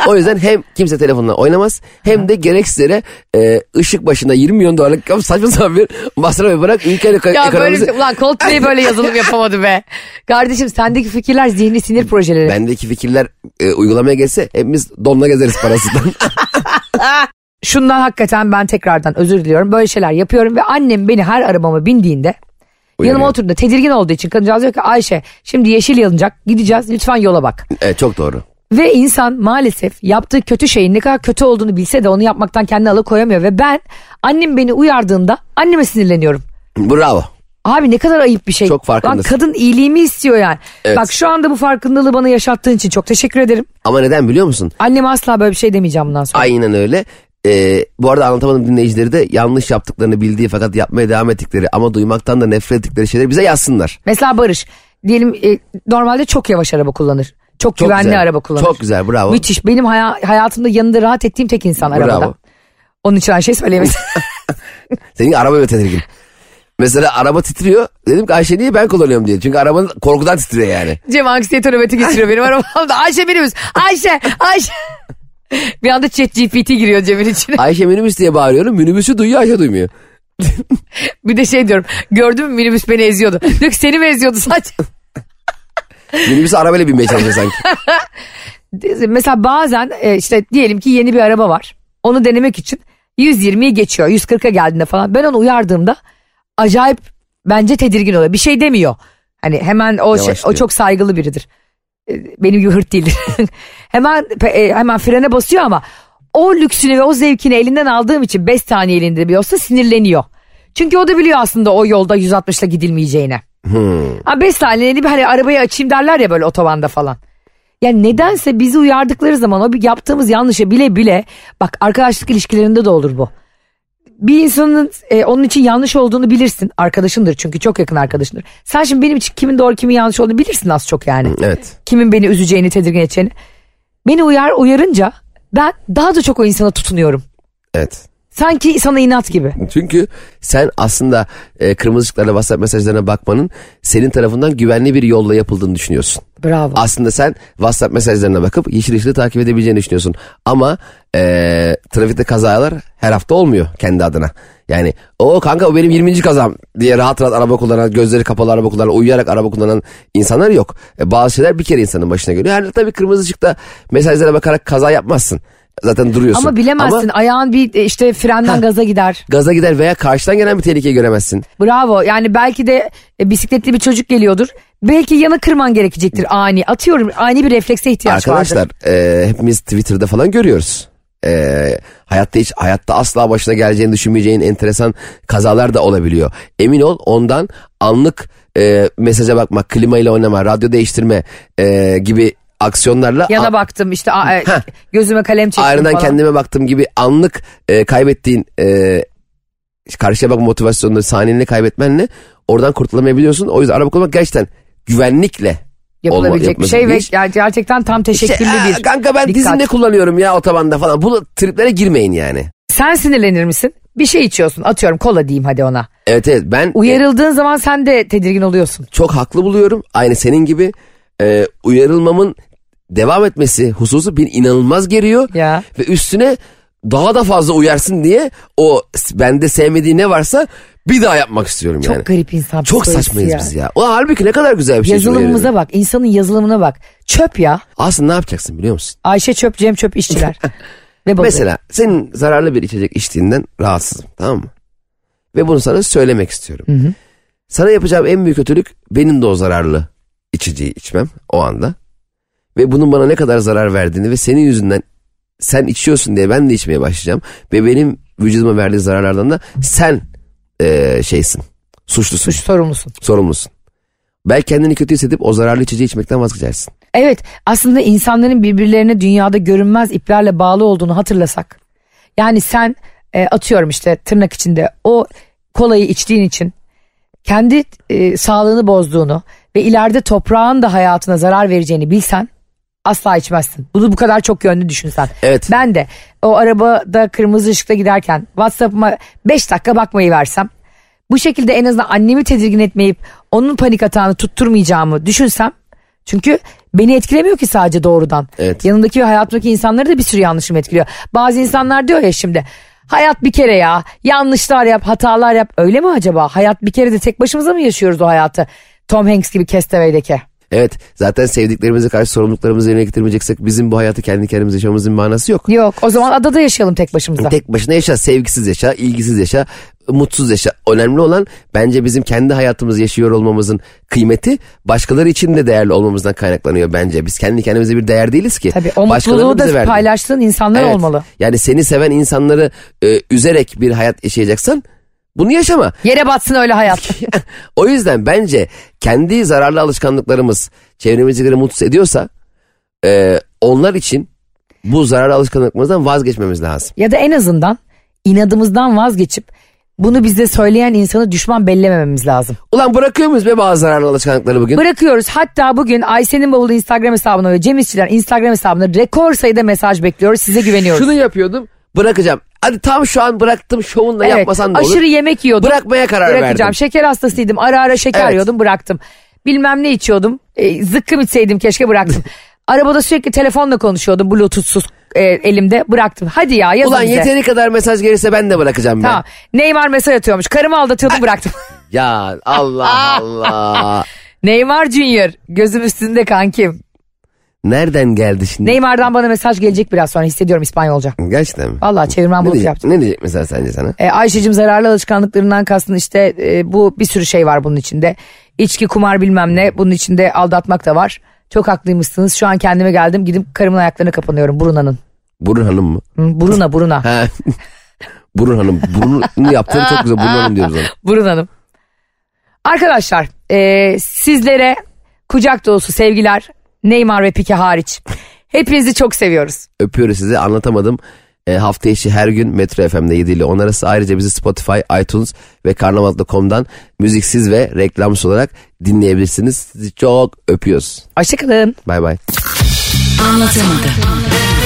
Speaker 3: o yüzden hem kimse telefonla oynamaz hem de gereksiz yere e, ışık başında 20 milyon dolarlık ya saçma sapan bir masraf yaparak ülke eko-
Speaker 2: ya böyle,
Speaker 3: ekonomimizi...
Speaker 2: bir- şey- ulan Coldplay böyle yazılım yapamadı be. Kardeşim sendeki fikirler zihni sinir projeleri.
Speaker 3: Bendeki fikirler e, uygulamaya gelse hepimiz donla gezeriz parasından.
Speaker 2: şundan hakikaten ben tekrardan özür diliyorum. Böyle şeyler yapıyorum ve annem beni her arabama bindiğinde yanıma
Speaker 3: Uyarıyor.
Speaker 2: oturduğunda tedirgin olduğu için kadıncağız diyor ki Ayşe şimdi yeşil yanacak gideceğiz lütfen yola bak.
Speaker 3: evet çok doğru.
Speaker 2: Ve insan maalesef yaptığı kötü şeyin ne kadar kötü olduğunu bilse de onu yapmaktan kendini alıkoyamıyor ve ben annem beni uyardığında anneme sinirleniyorum.
Speaker 3: Bravo.
Speaker 2: Abi ne kadar ayıp bir şey.
Speaker 3: Çok
Speaker 2: Lan
Speaker 3: farkındasın.
Speaker 2: kadın iyiliğimi istiyor yani.
Speaker 3: Evet.
Speaker 2: Bak şu anda bu farkındalığı bana yaşattığın için çok teşekkür ederim.
Speaker 3: Ama neden biliyor musun?
Speaker 2: Anneme asla böyle bir şey demeyeceğim bundan sonra.
Speaker 3: Aynen öyle. E, bu arada anlatamadım dinleyicileri de yanlış yaptıklarını bildiği fakat yapmaya devam ettikleri ama duymaktan da nefret ettikleri şeyleri bize yazsınlar.
Speaker 2: Mesela Barış diyelim e, normalde çok yavaş araba kullanır. Çok,
Speaker 3: Çok
Speaker 2: güvenli
Speaker 3: güzel.
Speaker 2: araba kullanır.
Speaker 3: Çok güzel, bravo.
Speaker 2: Müthiş. Benim haya- hayatımda yanında rahat ettiğim tek insan
Speaker 3: Bravo.
Speaker 2: arabada. Onun için her şey söyleyemedim.
Speaker 3: Senin araba ve tedirgin. Mesela araba titriyor. Dedim ki Ayşe niye ben kullanıyorum diye. Çünkü arabanın korkudan titriyor yani.
Speaker 2: Cem anksiyete nöbeti geçiriyor benim arabamda. Ayşe minibüs. Ayşe. Ayşe. Bir anda chat GPT giriyor Cem'in içine.
Speaker 3: Ayşe minibüs diye bağırıyorum. Minibüsü duyuyor Ayşe duymuyor.
Speaker 2: Bir de şey diyorum. Gördün mü minibüs beni eziyordu. Diyor ki seni mi eziyordu sadece?
Speaker 3: Minibüsü arabayla binmeye çalışıyor sanki.
Speaker 2: Mesela bazen e, işte diyelim ki yeni bir araba var. Onu denemek için 120'yi geçiyor. 140'a geldiğinde falan. Ben onu uyardığımda acayip bence tedirgin oluyor. Bir şey demiyor. Hani hemen o şey- o
Speaker 3: Yavaşlıyor.
Speaker 2: çok saygılı biridir. E, Benim gibi hırt değildir. hemen pe- e, hemen frene basıyor ama o lüksünü ve o zevkini elinden aldığım için 5 saniye elinde bir olsa sinirleniyor. Çünkü o da biliyor aslında o yolda 160'la gidilmeyeceğini.
Speaker 3: Hmm,
Speaker 2: Ha 5 saniyeli bir hani arabayı açayım derler ya böyle otobanda falan. Yani nedense bizi uyardıkları zaman o bir yaptığımız yanlışı bile bile bak arkadaşlık ilişkilerinde de olur bu. Bir insanın e, onun için yanlış olduğunu bilirsin. Arkadaşındır çünkü çok yakın arkadaşındır. Sen şimdi benim için kimin doğru kimin yanlış olduğunu bilirsin az çok yani.
Speaker 3: Evet.
Speaker 2: Kimin beni üzeceğini, tedirgin edeceğini. Beni uyar uyarınca ben daha da çok o insana tutunuyorum.
Speaker 3: Evet.
Speaker 2: Sanki sana inat gibi.
Speaker 3: Çünkü sen aslında e, kırmızı ışıklarla WhatsApp mesajlarına bakmanın senin tarafından güvenli bir yolla yapıldığını düşünüyorsun.
Speaker 2: Bravo.
Speaker 3: Aslında sen WhatsApp mesajlarına bakıp yeşil ışığı takip edebileceğini düşünüyorsun. Ama e, trafikte kazalar her hafta olmuyor kendi adına. Yani o kanka o benim 20. kazam diye rahat rahat araba kullanan, gözleri kapalı araba kullanan, uyuyarak araba kullanan insanlar yok. E, bazı şeyler bir kere insanın başına geliyor. Yani tabii kırmızı ışıkta mesajlara bakarak kaza yapmazsın. Zaten duruyorsun.
Speaker 2: Ama bilemezsin ayağın bir e, işte frenden gaza gider.
Speaker 3: gaza gider veya karşıdan gelen bir tehlikeyi göremezsin.
Speaker 2: Bravo. Yani belki de e, bisikletli bir çocuk geliyordur. Belki yanı kırman gerekecektir ani. Atıyorum ani bir reflekse ihtiyaç vardır.
Speaker 3: Arkadaşlar e, hepimiz Twitter'da falan görüyoruz. E, hayatta hiç hayatta asla başına geleceğini düşünmeyeceğin enteresan kazalar da olabiliyor. Emin ol ondan anlık e, mesaja bakmak, klimayla oynama, radyo değiştirme e, gibi aksiyonlarla
Speaker 2: Yana
Speaker 3: a-
Speaker 2: baktım işte a- e,
Speaker 3: Heh.
Speaker 2: gözüme kalem çektim
Speaker 3: Ayrılan
Speaker 2: falan.
Speaker 3: kendime baktığım gibi anlık e, kaybettiğin e, karşıya bak motivasyonunu saniyeni kaybetmenle oradan kurtulamayabiliyorsun. O yüzden araba kullanmak gerçekten güvenlikle olma-
Speaker 2: Yapılabilecek bir
Speaker 3: yapması
Speaker 2: şey ve
Speaker 3: bir iş.
Speaker 2: yani gerçekten tam teşekküllü
Speaker 3: İşte, "Aa,
Speaker 2: bir
Speaker 3: Kanka ben
Speaker 2: dikkat.
Speaker 3: dizimle kullanıyorum ya otobanda falan. Bu triplere girmeyin yani.
Speaker 2: Sen sinirlenir misin? Bir şey içiyorsun atıyorum kola diyeyim hadi ona.
Speaker 3: Evet evet ben e,
Speaker 2: Uyarıldığın zaman sen de tedirgin oluyorsun.
Speaker 3: çok haklı buluyorum. Aynı senin gibi e, uyarılmamın devam etmesi hususu beni inanılmaz geriyor.
Speaker 2: Ya.
Speaker 3: Ve üstüne daha da fazla uyarsın diye o s- bende sevmediği ne varsa bir daha yapmak istiyorum
Speaker 2: Çok
Speaker 3: yani.
Speaker 2: garip insan
Speaker 3: Çok
Speaker 2: psikolojisi
Speaker 3: saçmayız
Speaker 2: ya.
Speaker 3: biz ya. O halbuki ne kadar güzel bir şey.
Speaker 2: Yazılımımıza
Speaker 3: uyarıyorum.
Speaker 2: bak insanın yazılımına bak. Çöp ya.
Speaker 3: Aslında ne yapacaksın biliyor musun?
Speaker 2: Ayşe çöp Cem çöp işçiler. Ve balığı.
Speaker 3: Mesela senin zararlı bir içecek içtiğinden rahatsızım tamam mı? Ve bunu sana söylemek istiyorum. Sana yapacağım en büyük kötülük benim de o zararlı içeceği içmem o anda. Ve bunun bana ne kadar zarar verdiğini ve senin yüzünden sen içiyorsun diye ben de içmeye başlayacağım. Ve benim vücuduma verdiği zararlardan da sen eee, şeysin suçlusun
Speaker 2: suç sorumlusun.
Speaker 3: sorumlusun. Belki kendini kötü hissedip o zararlı içeceği içmekten vazgeçersin.
Speaker 2: Evet aslında insanların birbirlerine dünyada görünmez iplerle bağlı olduğunu hatırlasak. Yani sen e, atıyorum işte tırnak içinde o kolayı içtiğin için kendi e, sağlığını bozduğunu ve ileride toprağın da hayatına zarar vereceğini bilsen asla içmezsin. Bunu bu kadar çok yönlü düşünsen.
Speaker 3: Evet.
Speaker 2: Ben de o arabada kırmızı ışıkta giderken WhatsApp'ıma 5 dakika bakmayı versem bu şekilde en azından annemi tedirgin etmeyip onun panik atağını tutturmayacağımı düşünsem çünkü beni etkilemiyor ki sadece doğrudan.
Speaker 3: Evet.
Speaker 2: Yanındaki ve hayatımdaki insanları da bir sürü yanlışım etkiliyor. Bazı insanlar diyor ya şimdi hayat bir kere ya yanlışlar yap hatalar yap öyle mi acaba? Hayat bir kere de tek başımıza mı yaşıyoruz o hayatı? Tom Hanks gibi Castaway'deki.
Speaker 3: Evet zaten sevdiklerimize karşı sorumluluklarımızı yerine getirmeyeceksek bizim bu hayatı kendi kendimize yaşamamızın manası yok.
Speaker 2: Yok o zaman adada yaşayalım tek başımıza.
Speaker 3: Tek başına yaşa, sevgisiz yaşa, ilgisiz yaşa, mutsuz yaşa. Önemli olan bence bizim kendi hayatımızı yaşıyor olmamızın kıymeti başkaları için de değerli olmamızdan kaynaklanıyor bence. Biz kendi kendimize bir değer değiliz ki.
Speaker 2: Tabii o
Speaker 3: Başkalarının
Speaker 2: mutluluğu
Speaker 3: bize
Speaker 2: da
Speaker 3: verdiği-
Speaker 2: paylaştığın insanlar
Speaker 3: Evet.
Speaker 2: olmalı.
Speaker 3: Yani seni seven insanları e, üzerek bir hayat yaşayacaksan bunu yaşama.
Speaker 2: Yere batsın öyle hayat.
Speaker 3: o yüzden bence kendi zararlı alışkanlıklarımız çevremizdekileri mutsuz ediyorsa e, onlar için bu zararlı alışkanlıklarımızdan vazgeçmemiz lazım.
Speaker 2: ya da en azından inadımızdan vazgeçip bunu bize söyleyen insanı düşman bellemememiz lazım.
Speaker 3: Ulan bırakıyor muyuz be bazı zararlı alışkanlıkları bugün?
Speaker 2: Bırakıyoruz. Hatta bugün Ayşe'nin bavulu Instagram hesabına ve Cem İşçiler Instagram hesabına rekor sayıda mesaj bekliyoruz. Size güveniyoruz.
Speaker 3: Şunu yapıyordum bırakacağım. Hadi tam şu an bıraktım şovunla
Speaker 2: Evet,
Speaker 3: yapmasan da olur.
Speaker 2: Aşırı yemek yiyordum.
Speaker 3: Bırakmaya karar
Speaker 2: Bırakacağım.
Speaker 3: verdim.
Speaker 2: Şeker hastasıydım. Ara ara şeker
Speaker 3: Evet.
Speaker 2: yiyordum bıraktım. Bilmem ne içiyordum. E, zıkkım içseydim keşke bıraktım. Arabada sürekli telefonla konuşuyordum. Bluetooth'suz e, elimde bıraktım. Hadi ya yazın
Speaker 3: Ulan
Speaker 2: bize.
Speaker 3: yeteri kadar mesaj gelirse ben de bırakacağım ben.
Speaker 2: Tamam. Neymar mesaj atıyormuş. Karımı aldatıyordum bıraktım.
Speaker 3: Ya Allah Allah.
Speaker 2: Neymar Junior gözüm üstünde kankim.
Speaker 3: Nereden geldi şimdi?
Speaker 2: Neymar'dan bana mesaj gelecek biraz sonra hissediyorum İspanyolca.
Speaker 3: Gerçekten mi?
Speaker 2: Vallahi çevirmen
Speaker 3: Ne
Speaker 2: bulup
Speaker 3: diyecek,
Speaker 2: yaptım.
Speaker 3: ne diyecek mesela sence sana?
Speaker 2: E, Ayşe'cim zararlı alışkanlıklarından kastın işte e, bu bir sürü şey var bunun içinde. İçki, kumar bilmem ne bunun içinde aldatmak da var. Çok haklıymışsınız şu an kendime geldim gidip karımın ayaklarına kapanıyorum Bruna'nın.
Speaker 3: Burun Hanım mı?
Speaker 2: Hı, Bruna Bruna.
Speaker 3: Ha. Burun Hanım. Burununu yaptığın çok güzel. Burun Hanım diyoruz ona.
Speaker 2: Burun Hanım. Arkadaşlar e, sizlere kucak dolusu sevgiler Neymar ve Pike hariç. Hepinizi çok seviyoruz.
Speaker 3: Öpüyoruz sizi. Anlatamadım. E, hafta içi her gün Metro FM'de 7 ile 10 arası. Ayrıca bizi Spotify, iTunes ve karnaval.com'dan müziksiz ve reklamsız olarak dinleyebilirsiniz. Sizi çok öpüyoruz.
Speaker 2: Hoşçakalın.
Speaker 3: Bay bay.
Speaker 4: Anlatamadım.